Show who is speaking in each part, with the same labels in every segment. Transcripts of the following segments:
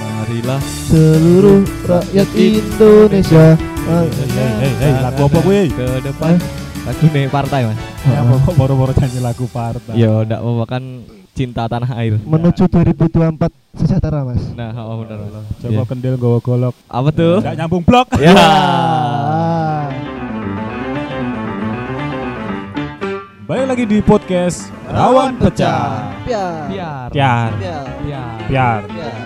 Speaker 1: Marilah
Speaker 2: seluruh rakyat Indonesia. eh,
Speaker 3: Hei, hei, hei, Eh, lagu apa kuwi?
Speaker 1: Ke depan Lagu nih partai mas
Speaker 3: Ya pokok boro-boro nyanyi lagu partai.
Speaker 1: Ya ndak mau makan cinta tanah air
Speaker 2: Menuju 2024 sejahtera mas.
Speaker 1: Nah oh, benar benar
Speaker 3: Joko
Speaker 1: Iya.
Speaker 3: Kendil gowo golok.
Speaker 1: Apa tuh?
Speaker 3: Enggak nyambung blok.
Speaker 1: Ya
Speaker 2: Ah.
Speaker 3: Balik lagi di podcast Rawan Pecah.
Speaker 2: Piar.
Speaker 1: Biar
Speaker 3: Piar,
Speaker 2: Piar.
Speaker 1: Biar
Speaker 3: piar.
Speaker 2: Piar.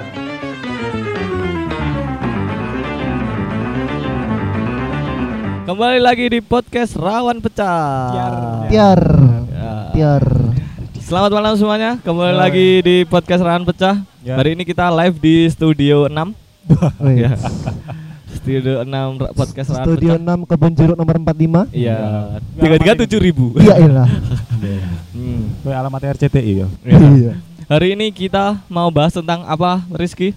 Speaker 1: Kembali lagi di podcast Rawan Pecah
Speaker 3: Biar.
Speaker 2: Piar.
Speaker 1: Ya.
Speaker 2: Piar.
Speaker 1: Selamat malam semuanya Kembali
Speaker 3: Selamat.
Speaker 1: lagi di podcast Rawan Pecah
Speaker 3: Ya.
Speaker 1: Hari ini kita live di Studio 6
Speaker 2: Wih.
Speaker 1: Ya. Studio 6 ra- podcast Rawan
Speaker 2: Eh. Studio
Speaker 1: Pecah
Speaker 2: 6 Kebun Jeruk nomor 45.
Speaker 1: Iya
Speaker 3: Ya.
Speaker 1: Tiga-tiga tujuh ribu
Speaker 2: Iya iyalah.
Speaker 1: Hmm.
Speaker 3: Kuwi alamat RCTI ya.
Speaker 1: Ya.
Speaker 2: Iya.
Speaker 1: Hari ini kita mau bahas tentang apa Rizky?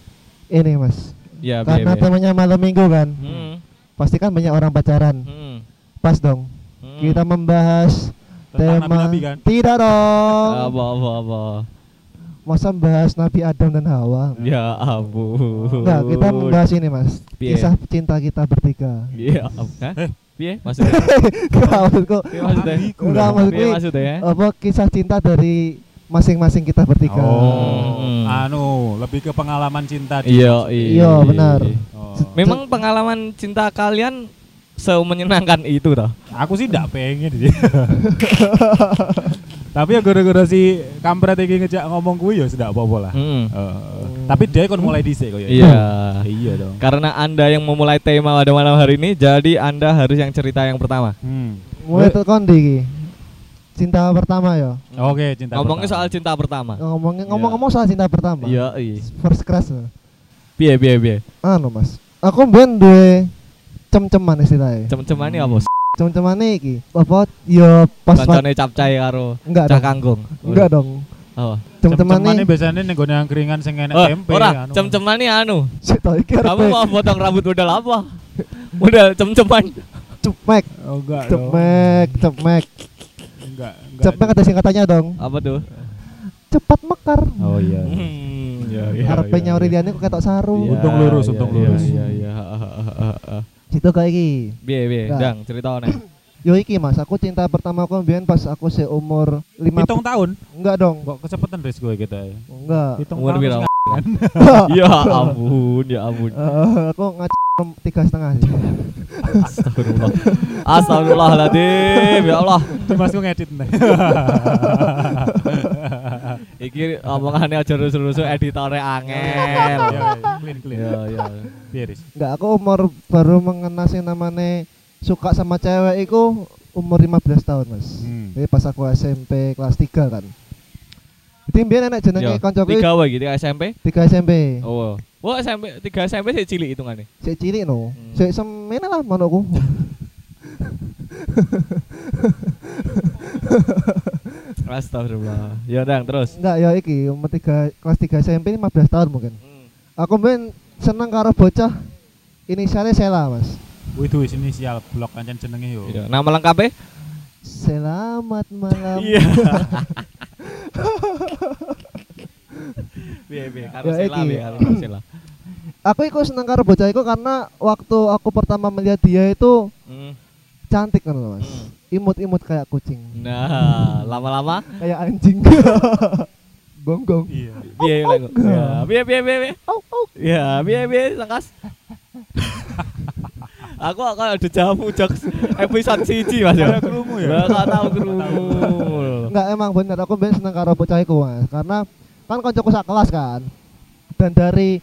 Speaker 2: Ini mas.
Speaker 1: Ya
Speaker 2: Karena
Speaker 1: biaya-biaya.
Speaker 2: temanya malam minggu kan.
Speaker 1: Hmm.
Speaker 2: Pasti kan banyak orang pacaran.
Speaker 1: Hmm.
Speaker 2: Pas dong.
Speaker 1: Hmm.
Speaker 2: Kita membahas
Speaker 3: Tentang
Speaker 2: tema
Speaker 3: nabi-nabi kan?
Speaker 2: tidak dong.
Speaker 1: apa apa apa.
Speaker 2: Masa membahas Nabi Adam dan Hawa.
Speaker 1: Ya ampun.
Speaker 2: Enggak, Nah, kita membahas ini mas
Speaker 1: Piye?
Speaker 2: Kisah cinta kita bertiga
Speaker 1: Iya, apa? Piye maksudnya?
Speaker 2: Enggak maksudku
Speaker 3: Iya,
Speaker 1: Piye maksudnya?
Speaker 3: Ambigu
Speaker 2: Enggak
Speaker 3: lah.
Speaker 1: Piye
Speaker 2: maksudnya Oh.
Speaker 1: maksudnya?
Speaker 3: ya?
Speaker 2: Apa kisah cinta dari masing-masing kita bertiga
Speaker 3: Oh,
Speaker 1: Hmm.
Speaker 3: anu, lebih ke pengalaman cinta di-
Speaker 1: Iya,
Speaker 2: Iya benar
Speaker 3: Oh.
Speaker 1: Memang pengalaman cinta kalian semenyenangkan itu toh.
Speaker 3: Aku sih ndak pengen sih. Tapi ya gara-gara si kampret iki ngejak ngomong kuwi ya sudah apa-apa lah.
Speaker 1: Hmm.
Speaker 3: Eh, tapi dia kan mulai dhisik kok ya.
Speaker 1: Iya.
Speaker 3: Iya dong.
Speaker 1: Karena Anda yang memulai tema pada malam hari ini, jadi Anda harus yang cerita yang pertama.
Speaker 3: Hmm.
Speaker 2: Mulai terkondi iki. Cinta pertama ya
Speaker 3: Oke, cinta.
Speaker 1: Ngomongnya
Speaker 3: pertama.
Speaker 1: soal cinta pertama.
Speaker 2: Ngomongin
Speaker 3: Iya.
Speaker 2: ngomong-ngomong soal cinta pertama
Speaker 1: Iya, iya.
Speaker 2: First crush ya.
Speaker 1: Piye piye piye.
Speaker 2: Anu mas Aku mbien duwe cem-ceman istilahnya
Speaker 1: Cem-cemane apa?
Speaker 2: Cem-ceman iki Apa ya pas
Speaker 1: Kancane capcai karo
Speaker 2: Enggak
Speaker 1: cah
Speaker 2: dong
Speaker 1: kangkung.
Speaker 2: Enggak dong
Speaker 1: Apa?
Speaker 3: Cem-cemane
Speaker 2: Cem-ceman iki
Speaker 3: biasanya nih gue angkringan sing enak
Speaker 1: Oh,
Speaker 3: tempe.
Speaker 1: ora,
Speaker 3: anu.
Speaker 1: cem-ceman nih anu.
Speaker 2: Sik, tau iki
Speaker 1: Kamu
Speaker 2: arepe
Speaker 1: mau potong rambut modal apa? Modal cem-ceman.
Speaker 2: Cemek
Speaker 3: Oh, enggak dong.
Speaker 2: Cemek Cemek
Speaker 3: Enggak, enggak.
Speaker 2: Cepat ada singkatannya dong.
Speaker 1: Apa tuh?
Speaker 2: Cepat mekar.
Speaker 3: Oh iya.
Speaker 1: Hmm, ya,
Speaker 3: Iya,
Speaker 2: Arep
Speaker 3: iya,
Speaker 2: nyauri liyane kok ketok saru.
Speaker 3: Untung lurus, untung lurus.
Speaker 1: Iya, iya, iya.
Speaker 2: Situ kayak iki.
Speaker 1: Biye, biye,
Speaker 2: Nah.
Speaker 1: dang cerita nih.
Speaker 2: Yo iki Mas, aku cinta pertama aku mbiyen pas aku seumur 5
Speaker 3: Hitung tahun.
Speaker 2: Enggak dong.
Speaker 3: Kok kecepatan res gue kita ya.
Speaker 2: Enggak.
Speaker 3: Hitung
Speaker 1: Umur berapa?
Speaker 3: tahun.
Speaker 1: Ya ampun, ya ampun.
Speaker 2: Eh, aku ngaji tiga setengah sih.
Speaker 1: Astagfirullah. Astagfirullahaladzim, ya Allah.
Speaker 3: Mas gue ngedit nih.
Speaker 1: Iki omongannya aja rusuh-rusuh editornya angel.
Speaker 3: Iya, Clean clean.
Speaker 1: Ya, ya.
Speaker 3: Biar, Riz.
Speaker 2: Enggak, aku umur baru mengenal sing namane suka sama cewek iku umur 15 tahun, Mas.
Speaker 3: Hmm.
Speaker 2: Jadi pas aku SMP kelas 3 kan. Jadi mbiyen enak
Speaker 1: Ya,
Speaker 2: jenenge kancaku Hmm.
Speaker 1: Tiga wae gitu SMP.
Speaker 2: 3 SMP.
Speaker 1: Oh. Wah, SMP 3 SMP sih cilik hitungannya.
Speaker 2: Sik cilik no.
Speaker 1: Hmm.
Speaker 2: Sik semene lah manukku.
Speaker 1: Astagfirullah. Ya dang terus.
Speaker 2: Enggak ya iki umur 3 kelas 3 SMP 15 tahun mungkin.
Speaker 1: Hmm.
Speaker 2: Aku main seneng karo bocah inisialnya Sela, Mas.
Speaker 3: Wih tuh sini sial blok kancen jenenge yo.
Speaker 1: Iya, nama lengkapnya?
Speaker 2: Selamat malam.
Speaker 1: Iya, iya,
Speaker 2: Ya,
Speaker 1: Karusela,
Speaker 2: iki.
Speaker 1: iya, Karusela.
Speaker 2: Aku iku seneng karo bocah iku karena waktu aku pertama melihat dia itu
Speaker 1: Hmm.
Speaker 2: cantik kan loh, Mas.
Speaker 1: Hmm.
Speaker 2: Imut-imut kayak kucing,
Speaker 1: Nah, lama-lama
Speaker 2: kayak anjing. Gonggong.
Speaker 3: Iya.
Speaker 1: piye lagu? Ya, piye piye piye. piye.
Speaker 2: Au au.
Speaker 1: Ya, piye piye sangkas. Aku kok ada jamu jokes episode siji Mas.
Speaker 3: Ada kerungu
Speaker 1: Lah,
Speaker 3: ya?
Speaker 1: nggak tahu kerungu.
Speaker 2: Enggak emang bener aku ben seneng karo bocah iku, Mas. Karena kan kancaku sak kelas kan. Dan dari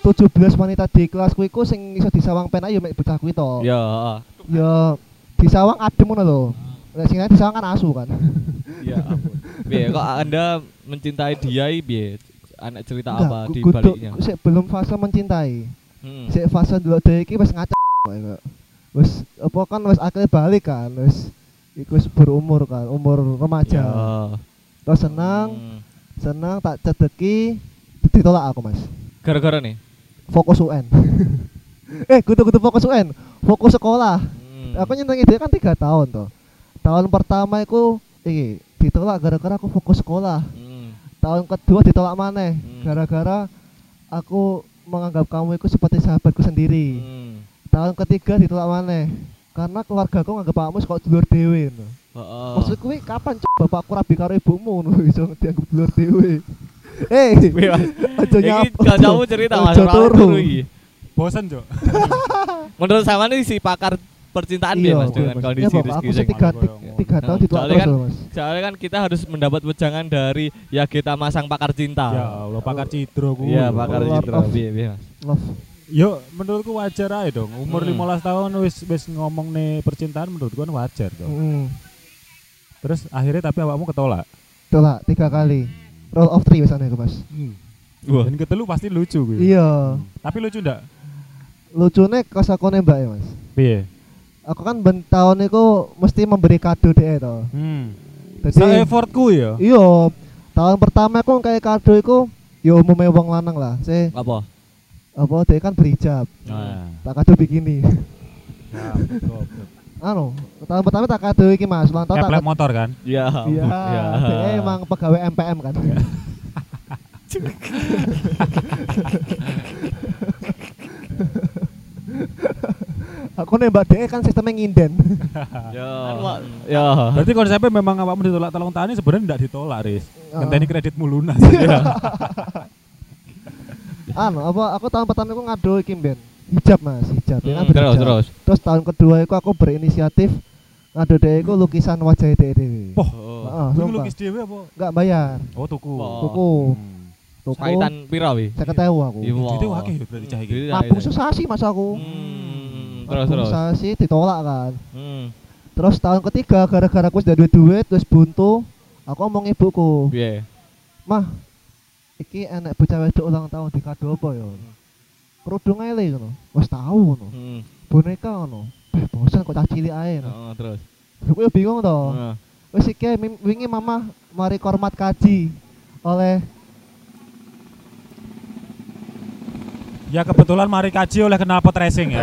Speaker 2: 17 wanita di kelasku iku sing iso disawang penak ya mek bocahku itu.
Speaker 1: Ya,
Speaker 2: Ya di sawang adem ngono lho. Nek sing lain di sawang kan asu kan.
Speaker 1: ya ampun. Piye kok Anda mencintai dia piye? Anak cerita
Speaker 2: Enggak,
Speaker 1: apa
Speaker 2: gu-
Speaker 1: di
Speaker 2: guduk-
Speaker 1: baliknya?
Speaker 2: sik belum fase mencintai.
Speaker 1: Hmm.
Speaker 2: Sik fase ndelok dhewe iki wis ngacak kok iku. Wis apa kan wis akhirnya balik kan, wis iku wis berumur kan, umur remaja.
Speaker 1: Ya.
Speaker 2: Terus seneng,
Speaker 1: Hmm.
Speaker 2: seneng tak cedeki ditolak aku, Mas.
Speaker 1: Gara-gara nih.
Speaker 2: Fokus UN. eh, kudu-kudu fokus UN, fokus sekolah.
Speaker 1: Hmm.
Speaker 2: Aku nyenengi dia kan tiga tahun toh. Tahun pertama iku iki ditolak gara-gara aku fokus sekolah.
Speaker 1: Hmm.
Speaker 2: tahun kedua ditolak maneh
Speaker 1: Hmm.
Speaker 2: gara-gara aku menganggap kamu itu seperti sahabatku sendiri.
Speaker 1: Hmm.
Speaker 2: Tahun ketiga ditolak maneh karena keluargaku nganggap kamu kok dulur dhewe. ngono.
Speaker 1: Heeh.
Speaker 2: Maksud kuwi kapan c- bapakku rabi karo ibumu ngono iso dianggap dulur dhewe. Eh,
Speaker 1: Wih, Mas.
Speaker 2: aja
Speaker 1: Iki
Speaker 2: nyapa.
Speaker 1: kancamu cerita Mas.
Speaker 2: Aja
Speaker 1: ora
Speaker 2: turu.
Speaker 1: turu iki.
Speaker 3: Bosen, Cuk.
Speaker 1: Menurut sama nih si pakar percintaan dia
Speaker 2: Iya,
Speaker 1: Mas dengan
Speaker 2: Mas.
Speaker 1: kondisi
Speaker 2: Iya, Bapak,
Speaker 1: Rizky
Speaker 2: aku sih
Speaker 1: Zeng.
Speaker 2: tiga,
Speaker 3: Mas.
Speaker 2: tiga, tiga tahun
Speaker 1: Nah,
Speaker 2: ditolak
Speaker 1: soalnya
Speaker 2: terus
Speaker 1: kan-
Speaker 2: loh, Mas.
Speaker 1: Soalnya kan kita harus mendapat wejangan dari ya kita masang pakar
Speaker 3: Ya
Speaker 1: cinta.
Speaker 3: Allah, pakar Cidro ku.
Speaker 1: Ah. Iya, pakar
Speaker 2: Lord
Speaker 1: cinta.
Speaker 2: of-
Speaker 1: Piye, piye, Mas?
Speaker 2: Love.
Speaker 3: Yo, menurutku wajar aja dong. Umur
Speaker 1: Hmm.
Speaker 3: 15 tahun wis wis ngomong nih percintaan menurutku kan wajar dong.
Speaker 2: Mm.
Speaker 3: Terus akhirnya tapi awakmu ketolak.
Speaker 2: Tolak tiga kali. Roll of three misalnya Mas.
Speaker 1: Hmm. Wah.
Speaker 3: Dan ketelu pasti lucu gue.
Speaker 2: Iya.
Speaker 3: Tapi lucu ndak?
Speaker 2: Lucune kos aku nembak ya, Mas.
Speaker 3: Piye?
Speaker 2: Aku kan ben tahun iku mesti memberi kado dhek to.
Speaker 3: Hmm.
Speaker 2: Dadi
Speaker 3: effortku ya.
Speaker 2: iya, tahun pertama aku kayak kado iku ya umumnya wong lanang lah. Se
Speaker 1: Apa?
Speaker 2: apa dhek kan berijab.
Speaker 3: Ah,
Speaker 1: Nah.
Speaker 2: Tak kado begini.
Speaker 3: Ya,
Speaker 2: anu, tahun pertama tak kado iki Mas, ulang tahun tak
Speaker 3: Eplek motor kan?
Speaker 1: Iya.
Speaker 2: Iya, dhek emang pegawai MPM kan.
Speaker 3: Ah.
Speaker 2: aku nembak dhek kan sistemnya nginden.
Speaker 1: Ya. Ya.
Speaker 3: Berarti konsepnya memang awakmu ditolak tolong tani sebenarnya ndak ditolak, Riz.
Speaker 2: Ah. Iya.
Speaker 3: Ngenteni kreditmu lunas. Iya.
Speaker 2: anu apa aku tahun pertama aku ngadu iki ben hijab mas hijab ya kan
Speaker 1: Hmm, terus
Speaker 2: berhijab.
Speaker 1: terus.
Speaker 2: Terus tahun kedua aku aku berinisiatif ngadu deh aku lukisan wajah deh dewi
Speaker 3: Poh,
Speaker 1: Oh.
Speaker 2: Heeh,
Speaker 3: Kuwi
Speaker 2: sumpah.
Speaker 3: lukis dhewe apa?
Speaker 2: nggak bayar
Speaker 3: Oh, tuku.
Speaker 1: Wah.
Speaker 2: tuku
Speaker 3: Hmm.
Speaker 2: tuku
Speaker 1: Kaitan pira wi?
Speaker 2: saya ketahu aku
Speaker 1: Iya.
Speaker 3: Duitnya wakil ya berarti cah iki.
Speaker 1: Duitnya
Speaker 2: nabung
Speaker 1: akeh.
Speaker 2: susah sih mas aku
Speaker 1: Hmm, terus terus.
Speaker 2: Nabung susah sih ditolak kan
Speaker 1: Hmm.
Speaker 2: terus tahun ketiga gara-gara aku sudah duit duit terus buntu aku ngomong ibuku
Speaker 1: Piye?
Speaker 2: mah iki enak bocah wedok ulang tahun di kado apa ya kerudung aja lagi wes tahu no
Speaker 1: Hmm.
Speaker 2: boneka no eh bosan kok cah cilik aja no
Speaker 1: Heeh, Oh, terus. Nah.
Speaker 2: Aku ya bingung toh.
Speaker 1: Heeh.
Speaker 2: Wis iki mim- wingi mama mari kormat kaji oleh
Speaker 1: Hmm.
Speaker 3: Ya kebetulan mari kaji oleh knalpot racing ya.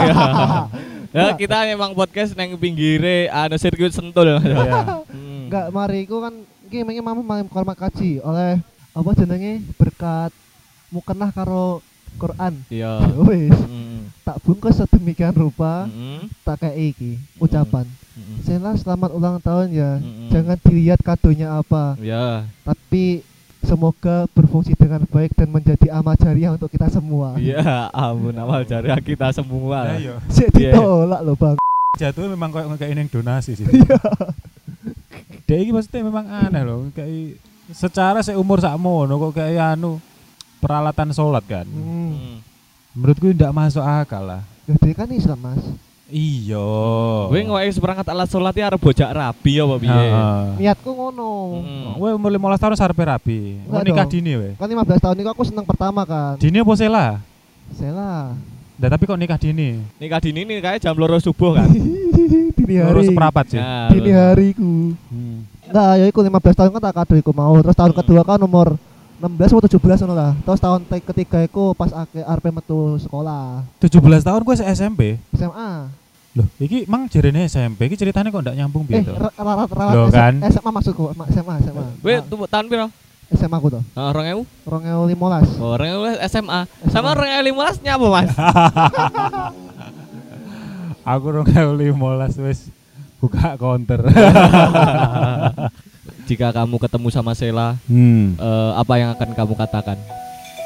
Speaker 1: Ya, kita emang podcast neng pinggire ada sirkuit sentul ya.
Speaker 3: Iya.
Speaker 1: Hmm.
Speaker 2: enggak mari iku kan iki wingi mama mari kormat kaji oleh apa jenenge berkat mukenah karo Quran.
Speaker 1: Iya.
Speaker 2: Ya Wis
Speaker 1: Hmm.
Speaker 2: tak bungkus sedemikian rupa
Speaker 1: Hmm.
Speaker 2: tak kayak iki ucapan.
Speaker 1: Hmm.
Speaker 2: Sela selamat ulang tahun ya.
Speaker 1: Mm-mm.
Speaker 2: Jangan dilihat kadonya apa,
Speaker 1: Ya.
Speaker 2: tapi semoga berfungsi dengan baik dan menjadi amal jariah untuk kita semua.
Speaker 1: Iya, ampun amal jariah kita semua.
Speaker 3: Nah, iya.
Speaker 1: Iya.
Speaker 2: Jadi tolak loh bang.
Speaker 3: Jatuhnya memang kayak ngekei neng donasi sih.
Speaker 2: Iya.
Speaker 3: Dia ini maksudnya memang aneh loh, kayak secara seumur sakmono kok kayak anu peralatan sholat kan.
Speaker 2: Hmm.
Speaker 1: Hmm.
Speaker 3: Menurutku tidak masuk akal lah.
Speaker 2: Jadi kan Islam mas.
Speaker 1: Ah.
Speaker 3: Iya.
Speaker 1: Kowe ngeweki seperangkat alat sholat ya arep bojak rabi apa piye?
Speaker 3: Heeh.
Speaker 2: niatku ngono
Speaker 1: Hmm.
Speaker 3: Kowe umur 15 tahun sarpe rapi. Mau
Speaker 2: Enggak
Speaker 3: nikah
Speaker 2: dong.
Speaker 3: dini weh.
Speaker 2: kan 15 tahun itu aku seneng pertama kan
Speaker 3: Dini apa sela?
Speaker 2: Sela
Speaker 3: Nah, tapi kok nikah dini?
Speaker 1: Nikah dini nih kayak jam loro subuh kan.
Speaker 2: dini
Speaker 3: Loro
Speaker 2: hari
Speaker 3: seprapat sih.
Speaker 1: Nah,
Speaker 2: dini
Speaker 1: loro-
Speaker 2: hariku
Speaker 3: Hmm.
Speaker 2: enggak ya iku 15 tahun kan tak kado iku mau terus tahun
Speaker 1: Hmm.
Speaker 2: kedua kan umur 16 atau 17 ngono lah terus tahun te- ketiga iku pas ake arep metu sekolah
Speaker 3: 17 tahun gue SMP.
Speaker 2: SMA
Speaker 3: Loh, iki mang jerene SMP. Iki ceritanya kok ndak nyambung
Speaker 2: eh
Speaker 1: Gitu.
Speaker 3: piye to?
Speaker 2: ra- rawat rawat
Speaker 3: Loh,
Speaker 2: S-
Speaker 3: kan?
Speaker 2: SMA maksudku ma- SMA SMA
Speaker 1: Kowe
Speaker 2: Ma-
Speaker 1: tu- tahun piro?
Speaker 2: SMA aku tuh
Speaker 1: Nah, 2000?
Speaker 2: 2015
Speaker 1: Oh, 2000 SMA. Sama 2015 nya apa, Mas?
Speaker 3: Aku 2015 wis buka counter.
Speaker 1: Jika kamu ketemu sama Sela,
Speaker 3: hmm.
Speaker 1: eh, apa yang akan kamu katakan?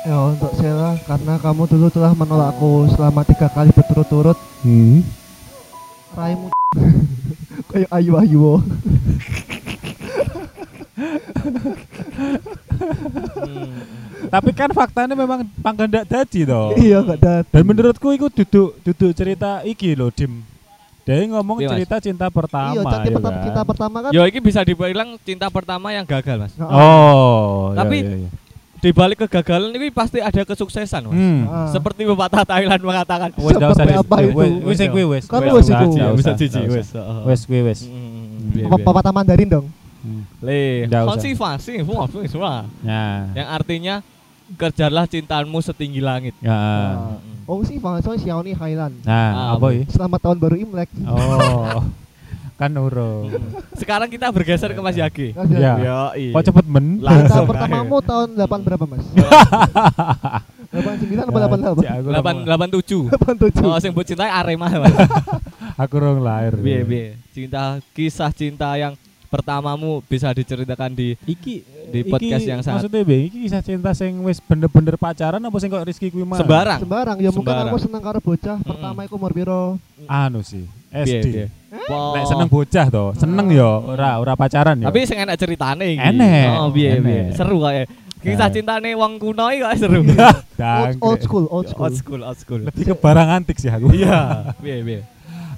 Speaker 2: ya untuk Sela karena kamu dulu telah menolakku selama tiga kali berturut-turut
Speaker 3: hmm.
Speaker 2: raimu kayak oh. ayu ayu
Speaker 1: Hmm.
Speaker 3: Tapi kan faktanya memang pangkan ndak dadi to.
Speaker 2: iya gak ada
Speaker 3: Oh. Dan menurutku itu duduk duduk cerita iki loh Dim. Dia ngomong
Speaker 1: Iya, Mas.
Speaker 3: cerita cinta pertama.
Speaker 2: iya cinta
Speaker 3: ya
Speaker 2: pertama
Speaker 3: kan?
Speaker 2: cinta pertama kan
Speaker 1: Ya, ini bisa dibilang cinta pertama yang gagal, Mas.
Speaker 2: Nah,
Speaker 3: Oh,
Speaker 1: Tapi-
Speaker 3: iya, iya, iya.
Speaker 1: Di balik kegagalan ini pasti ada kesuksesan, Mas.
Speaker 3: Hmm.
Speaker 2: ah.
Speaker 1: Seperti pepatah Thailand mengatakan.
Speaker 3: Wes ndak usah
Speaker 2: Seperti apa
Speaker 3: di-
Speaker 2: itu?
Speaker 3: wes- Wes sing kuwi wes.
Speaker 2: Kan
Speaker 3: Ndak
Speaker 2: wes
Speaker 3: usah,
Speaker 2: iku.
Speaker 3: ndak
Speaker 1: Ya,
Speaker 3: usah,
Speaker 1: bisa cici,
Speaker 3: ndak
Speaker 1: wes.
Speaker 3: usah. Wes kuwi wes.
Speaker 1: Mm,
Speaker 2: apa
Speaker 1: biar- biar.
Speaker 2: pepatah Mandarin dong
Speaker 1: Le,
Speaker 3: Nggak usah.
Speaker 1: konsivasi, wah, wah, wah.
Speaker 3: Nah.
Speaker 1: yang artinya kerjalah cintamu setinggi langit.
Speaker 3: Nah.
Speaker 2: Ah. oh sih Fang Soi Xiaoni Highland
Speaker 3: Nah,
Speaker 1: Ah,
Speaker 3: apa
Speaker 1: apa?
Speaker 3: iki?
Speaker 2: selamat tahun baru Imlek
Speaker 3: Oh. kan urung.
Speaker 1: Sekarang kita bergeser ke Mas Yagi.
Speaker 2: Kan ada-
Speaker 3: Ya.
Speaker 1: Yo, iya.
Speaker 3: Kok cepet men?
Speaker 1: Lah.
Speaker 2: cinta
Speaker 1: langsung aja.
Speaker 2: pertamamu tahun 8 berapa mas 89 apa 88?
Speaker 3: Aku
Speaker 1: Delapan
Speaker 3: rong-
Speaker 1: delapan tujuh.
Speaker 2: 87.
Speaker 1: Oh, sing buat cintai Arema. Mas.
Speaker 3: aku rong lahir.
Speaker 1: Biye biye. Cinta kisah cinta yang pertamamu bisa diceritakan di
Speaker 3: Iki
Speaker 1: Di podcast yang sangat-
Speaker 3: Maksudnya Be, iki kisah cinta sing wis bener-bener pacaran apa sing kok Rizky kuwi mah?
Speaker 1: sembarang.
Speaker 2: Sembarang ya mungkin
Speaker 1: Sembarang.
Speaker 2: aku seneng karo bocah pertama iku umur piro?
Speaker 3: Anu sih,
Speaker 1: Biye, biye.
Speaker 3: SD.
Speaker 1: Po-
Speaker 3: Nek seneng bocah to, seneng yo ora ora pacaran yo.
Speaker 1: Tapi sing enak ceritane iki.
Speaker 3: Enek.
Speaker 1: Oh, piye
Speaker 3: Enek.
Speaker 1: piye. Seru kayak. Kisah
Speaker 3: Nah.
Speaker 1: cintane wong kuno iki kok seru.
Speaker 2: Old,
Speaker 3: Dangkrik.
Speaker 2: old school, old
Speaker 1: Old
Speaker 2: school.
Speaker 1: school, old school.
Speaker 3: Iya. Lebih ke barang antik sih aku.
Speaker 1: Iya. Piye piye.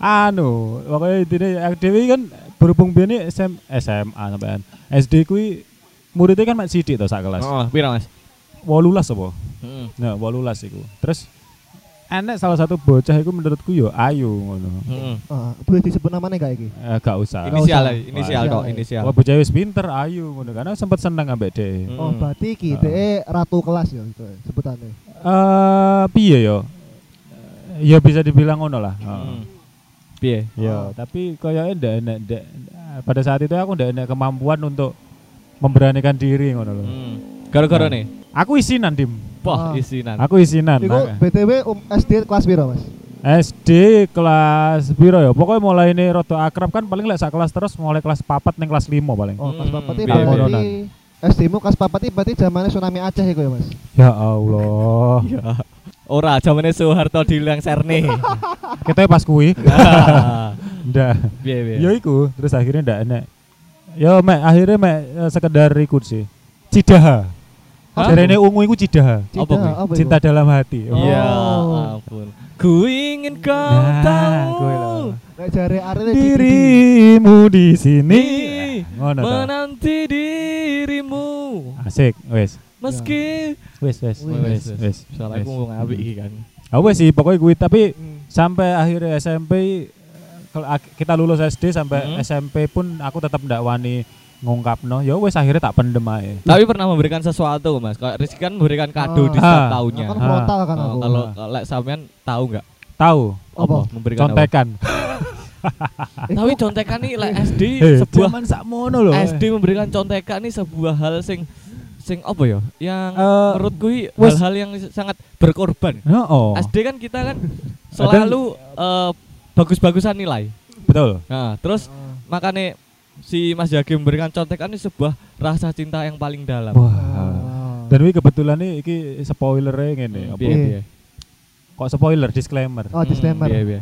Speaker 3: anu, pokoknya intinya aku dewe kan berhubung biyen SM, SMA sampean. SD kuwi muridnya kan mak sithik to sak kelas.
Speaker 1: Oh, pira Mas? Hmm.
Speaker 3: 18 apa?
Speaker 1: Heeh.
Speaker 3: Nah, 18 iku. Terus enek salah satu bocah iku menurutku yo ayu ngono.
Speaker 1: Heeh.
Speaker 2: Ah, boleh disebut namanya gak iki?
Speaker 3: Eh, gak usah.
Speaker 1: Hmm.
Speaker 2: Ini- ya.
Speaker 1: Inisial,
Speaker 2: usah.
Speaker 1: ae, inisial kok, inisial.
Speaker 3: Wah, bocah wis pinter ayu ngono karena sempat seneng ambek dhek. Eh,
Speaker 1: Hmm.
Speaker 2: Oh, berarti iki dhek ratu kelas ya itu sebutannya.
Speaker 3: piye yo? Eh, Ya bisa dibilang ngono lah.
Speaker 2: Hmm.
Speaker 3: Heeh.
Speaker 1: Heeh. Hmm. Piye?
Speaker 3: Ya, tapi kayaknya ndak enak ndak pada saat itu aku ndak enak kemampuan untuk memberanikan diri ngono
Speaker 2: Hmm.
Speaker 3: loh.
Speaker 1: Heeh. Gara-gara nih.
Speaker 3: Aku isinan, Dim.
Speaker 1: Wah,
Speaker 2: Ah.
Speaker 1: isinan.
Speaker 3: Aku isinan.
Speaker 2: Iku
Speaker 3: maka.
Speaker 2: BTW um, SD kelas piro, Mas?
Speaker 3: SD kelas piro ya? Pokoknya mulai ini rada akrab kan paling lek sak kelas terus mulai kelas papat neng kelas lima paling.
Speaker 2: Oh, kelas
Speaker 1: Hmm,
Speaker 2: papat iki
Speaker 1: biar
Speaker 2: berarti
Speaker 3: kodonan.
Speaker 2: SD mu kelas papat iki berarti zamannya tsunami Aceh iku ya, Mas.
Speaker 3: Ya Allah.
Speaker 1: Ya. Ora, jamane Soeharto diulang Serne.
Speaker 3: Kita pas kui.
Speaker 1: Ah,
Speaker 3: Ndak.
Speaker 1: Piye piye.
Speaker 3: Ya iku, terus akhirnya ndak enak. Ya mek akhirnya mek eh, sekedar ikut sih. Cidaha.
Speaker 1: Hah?
Speaker 3: Jarene ungu iku cidaha.
Speaker 1: Apa
Speaker 2: Cinta,
Speaker 1: kui?
Speaker 2: iku?
Speaker 3: Cinta dalam hati.
Speaker 2: Oh.
Speaker 1: Ya ampun. Ku ingin kau
Speaker 3: Nah,
Speaker 1: tahu.
Speaker 3: kui lho.
Speaker 2: Nek jare arene
Speaker 3: dirimu di sini ngono Ya. ta.
Speaker 1: menanti dirimu
Speaker 3: asik wes
Speaker 1: meski
Speaker 3: wes wes
Speaker 2: Wis,
Speaker 3: wes wes
Speaker 1: soalnya aku ngomong apik iki kan
Speaker 3: Ah, wes sih pokoknya gue tapi sampai akhirnya SMP kalau ak- kita lulus SD sampai
Speaker 1: Hmm.
Speaker 3: SMP pun aku tetap ndak wani ngungkapno ya wes akhirnya tak pendem ae
Speaker 1: tapi pernah memberikan sesuatu mas kalau Rizky kan memberikan kado di
Speaker 2: Ah.
Speaker 1: setiap
Speaker 3: Ah.
Speaker 1: tahunnya
Speaker 2: Kan
Speaker 3: Ah.
Speaker 2: frontal kan
Speaker 1: Oh,
Speaker 2: aku.
Speaker 1: kalau kalau lek sampean tahu nggak
Speaker 3: tahu
Speaker 2: Apa?
Speaker 1: memberikan apa?
Speaker 3: contekan
Speaker 2: Eh,
Speaker 1: tapi
Speaker 2: kok-
Speaker 1: contekan nih lek SD
Speaker 3: Eh,
Speaker 1: sebuah
Speaker 3: jaman sakmono loh
Speaker 1: SD memberikan contekan nih sebuah hal sing sing apa ya yang
Speaker 3: Eh,
Speaker 1: menurutku i
Speaker 3: wes-
Speaker 1: hal-hal yang sangat berkorban
Speaker 3: no oh
Speaker 1: SD kan kita kan selalu eh, bagus-bagusan nilai
Speaker 3: betul
Speaker 1: nah terus makanya si Mas Yagi memberikan contekan ini sebuah rasa cinta yang paling dalam.
Speaker 3: wah
Speaker 2: Ah.
Speaker 3: dan wi kebetulan nih iki spoiler ngene apa
Speaker 1: Piye, piye.
Speaker 3: kok spoiler disclaimer
Speaker 2: Oh,
Speaker 1: Iya, Hmm,
Speaker 2: disclaimer.
Speaker 1: piye, piye.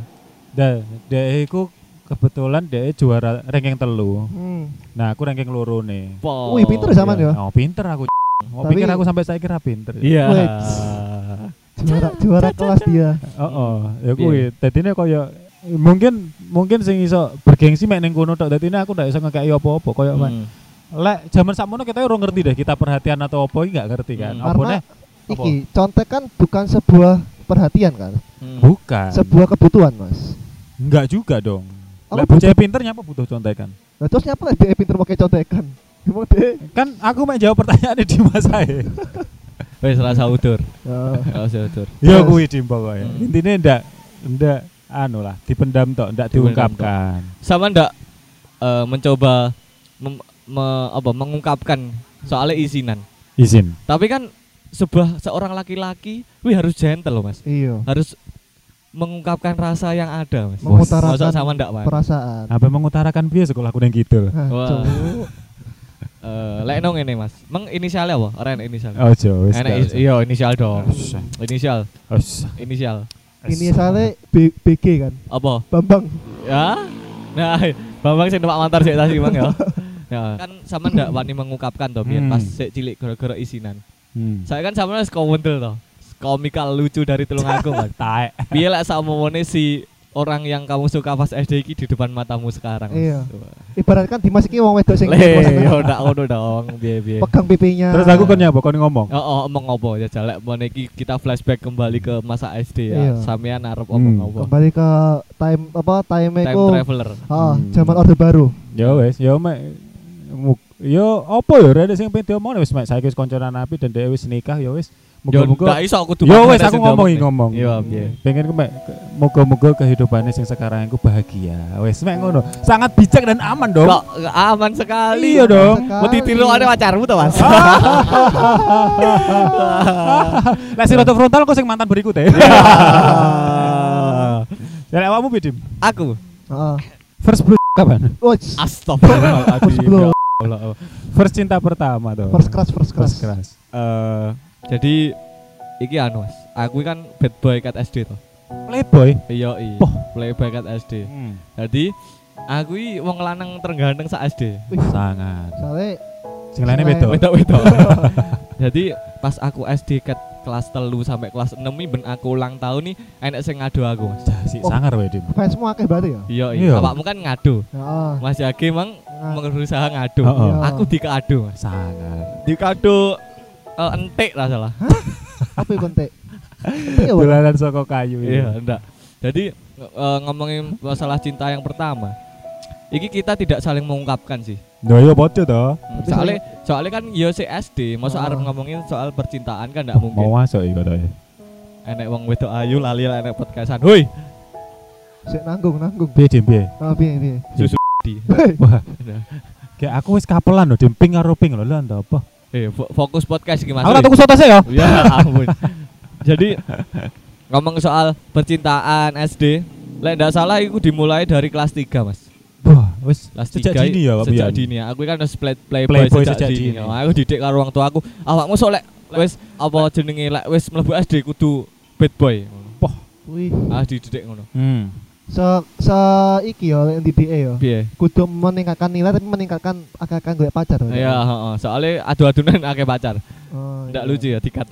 Speaker 3: Dah, dia iku kebetulan dia juara ranking telu.
Speaker 2: Hmm.
Speaker 3: Nah, aku ranking loro nih.
Speaker 1: Po.
Speaker 2: Wih, pinter zaman ya.
Speaker 3: Oh, pinter aku. Mau
Speaker 2: Tapi-
Speaker 3: pikir aku sampai saya kira pinter.
Speaker 1: Iya.
Speaker 2: Wait. Juara juara kelas dia.
Speaker 3: Oh, oh,
Speaker 1: Iya.
Speaker 3: ya kuwi. Dadine kaya mungkin mungkin sing iso bergengsi mek ning kono tok. Dadine aku ndak iso ngekeki apa-apa kaya hmm.
Speaker 1: Hmm.
Speaker 3: lek jaman sakmono kita ora ngerti deh kita perhatian atau apa iki gak ngerti kan.
Speaker 1: Hmm.
Speaker 3: Apa
Speaker 2: Karena
Speaker 3: nih? Apa?
Speaker 2: iki contek kan bukan sebuah perhatian kan,
Speaker 1: Hmm.
Speaker 3: Bukan.
Speaker 2: sebuah kebutuhan, Mas.
Speaker 3: Enggak juga dong.
Speaker 2: Apa
Speaker 3: Lek bocah pinternya apa butuh contekan?
Speaker 2: Nah, terus nyapa lah dia pinter pakai contekan. Emang dia
Speaker 3: Kan aku mek jawab pertanyaan di Mas Ae.
Speaker 1: Wis rasa udur.
Speaker 2: Ya.
Speaker 1: Rasa udur.
Speaker 3: Ya
Speaker 2: Terus.
Speaker 3: kuwi dimpo ya.
Speaker 1: Hmm.
Speaker 3: Intinya ndak ndak anu lah, dipendam tok,
Speaker 1: Dipendam
Speaker 3: ndak diungkapkan.
Speaker 1: Sama ndak eh, mencoba mem- me- apa mengungkapkan soalnya isinan.
Speaker 3: Izin.
Speaker 1: Tapi kan sebuah seorang laki-laki wih harus gentle loh, Mas.
Speaker 2: Iya.
Speaker 1: Harus mengungkapkan rasa yang ada, Mas.
Speaker 3: Mengutarakan
Speaker 1: Masa sama ndak, Mas?
Speaker 2: perasaan.
Speaker 3: Apa mengutarakan biaya sekolah aku nang kidul.
Speaker 2: Hah,
Speaker 1: Wah.
Speaker 2: cowok.
Speaker 1: Eh, lek nong ini mas, meng inisialnya apa? Ren inisial.
Speaker 3: Ojo Oh, wis.
Speaker 1: Enak is-
Speaker 3: gak usah.
Speaker 1: iya inisial dong.
Speaker 3: Usah.
Speaker 1: Inisial,
Speaker 3: Usah.
Speaker 1: inisial.
Speaker 2: Ini sale B- BG kan.
Speaker 1: Apa?
Speaker 2: Bambang.
Speaker 1: Ya? Nah, Bambang sing numpak mantar sik tadi Bang ya. Ya, kan sama ndak wani mengungkapkan toh biyen
Speaker 3: Hmm.
Speaker 1: pas sik cilik gara-gara isinan.
Speaker 3: Hmm.
Speaker 1: Saya kan sama wis kowendel toh. Komikal lucu dari tulung aku, Mas.
Speaker 3: Taek.
Speaker 1: Piye lek sakmomone si orang yang kamu suka pas SD iki di depan matamu sekarang. Mas?
Speaker 2: Iya.
Speaker 1: Wah.
Speaker 2: Ibaratkan Dimas iki wong wedok sing
Speaker 1: Leh, iya. yo ndak ngono dong, piye-piye.
Speaker 2: pegang pipinya.
Speaker 3: Terus aku kan nyapa kon ngomong.
Speaker 1: Oh, oh omong apa ya jalek mon iki kita flashback kembali ke masa SD ya.
Speaker 2: Iya.
Speaker 1: Sampean arep
Speaker 3: Hmm.
Speaker 1: omong apa?
Speaker 2: kembali ke time apa time
Speaker 1: Time
Speaker 2: iku.
Speaker 1: traveler.
Speaker 2: Oh,
Speaker 3: Hmm.
Speaker 2: zaman Orde Baru.
Speaker 3: Ya wis, ya mek mu- Ya apa ya rene sing pengen diomongno wis mek saiki wis kancanan api dan dhewe wis nikah ya wis.
Speaker 1: Yo ndak
Speaker 3: Muga-muga.
Speaker 1: iya. iso aku
Speaker 3: Ya
Speaker 1: tumpang
Speaker 3: wis
Speaker 1: beres
Speaker 3: aku
Speaker 1: ndamuk
Speaker 3: ngomong
Speaker 1: nih.
Speaker 3: ngomong.
Speaker 1: Iya, piye.
Speaker 3: Pengen ku mek moga-moga kehidupannya yang sekarang aku bahagia. Wes mek ngono. Sangat bijak dan aman dong.
Speaker 1: Kok nggak aman sekali.
Speaker 3: Iya dong.
Speaker 2: Sekali.
Speaker 1: Mau ditiru oleh pacarmu toh, Mas?
Speaker 2: Ah.
Speaker 3: Lah si Roto frontal kok sing mantan berikut ya.
Speaker 1: Iya.
Speaker 3: Dari awakmu bidim.
Speaker 1: Aku.
Speaker 2: Heeh.
Speaker 3: First blue kapan?
Speaker 2: Wuts.
Speaker 1: Ah. Astagfirullah.
Speaker 2: First
Speaker 3: ya
Speaker 2: blow.
Speaker 3: First cinta pertama tuh.
Speaker 2: First crush, first crush.
Speaker 3: First crush. Eh,
Speaker 1: Jadi iki anu, Mas. Aku kan bad boy kat SD toh.
Speaker 3: Playboy.
Speaker 1: Iya, iya.
Speaker 3: Poh.
Speaker 1: Playboy kat SD. Jadi aku i wong lanang terganteng sak SD.
Speaker 3: Sangat.
Speaker 2: Soalnya
Speaker 3: Sing lainnya
Speaker 2: Selain-
Speaker 1: Wedok
Speaker 3: beda.
Speaker 1: wedok. Jadi pas aku SD ket kelas telu sampai kelas 6 nih ben aku ulang tahun nih enak sing ngadu aku mas.
Speaker 3: Dah, Si sangar wae dim.
Speaker 2: fansmu akeh berarti ya?
Speaker 1: Iya
Speaker 3: Iya.
Speaker 1: iya. Awakmu kan ngadu.
Speaker 2: Heeh.
Speaker 1: Mas Jage mang
Speaker 2: Nah,
Speaker 1: berusaha ngadu.
Speaker 3: Oh, oh.
Speaker 2: Iya.
Speaker 1: Aku dikeadu mas.
Speaker 3: Sangat.
Speaker 1: Dikeadu eh, entik lah salah.
Speaker 2: apa iku entek? Entek ya, Bang?
Speaker 3: Dolanan saka kayu. ini.
Speaker 1: Iya enggak. Jadi eh, ngomongin masalah cinta yang pertama. Iki kita tidak saling mengungkapkan sih.
Speaker 3: Nah, iya bocor toh.
Speaker 1: Hmm,
Speaker 2: Tapi
Speaker 1: Soalnya soalnya kan yo si SD, masa
Speaker 2: Ah.
Speaker 1: arep ngomongin soal percintaan kan enggak mungkin.
Speaker 3: Mau masuk iki ya? katanya.
Speaker 1: enek wong wedok ayu lali lah enek podcastan. Woi,
Speaker 2: Sik nanggung, nanggung.
Speaker 3: Piye dim piye?
Speaker 2: Ah, piye, piye.
Speaker 1: di.
Speaker 3: Wah. Kayak aku wis kapelan loh, dim ping karo ping lho, lho apa?
Speaker 1: Eh, fo- fokus podcast iki Mas.
Speaker 3: Aku
Speaker 1: Woi.
Speaker 3: tak tuku sotase ya.
Speaker 1: Ya ampun. Jadi ngomong soal percintaan SD, lek ndak salah itu dimulai dari kelas 3, Mas.
Speaker 3: Wah, wis
Speaker 1: Kelas
Speaker 3: sejak
Speaker 1: 3
Speaker 3: dini ya, Pak
Speaker 1: Sejak
Speaker 3: Bian?
Speaker 1: dini. ya. Aku kan harus play, playboy,
Speaker 3: Playboy
Speaker 1: sejak,
Speaker 3: sejak
Speaker 1: dini.
Speaker 3: dini.
Speaker 1: Oh, aku didik karo orang tua aku. Awakmu sok lek wis apa jenenge lek wis mlebu SD kudu bad boy.
Speaker 3: Poh.
Speaker 2: Wih.
Speaker 1: Ah dididik ngono.
Speaker 3: Hmm.
Speaker 2: Se se iki ya yang DDE ya.
Speaker 1: Piye?
Speaker 2: Kudu meningkatkan nilai tapi meningkatkan agak-agak gue pacar. Bang.
Speaker 1: Ya,
Speaker 3: Iya.
Speaker 1: heeh. Soale adu-adunan akeh pacar.
Speaker 2: Oh,
Speaker 1: Ndak
Speaker 2: iya.
Speaker 1: lucu ya tiket.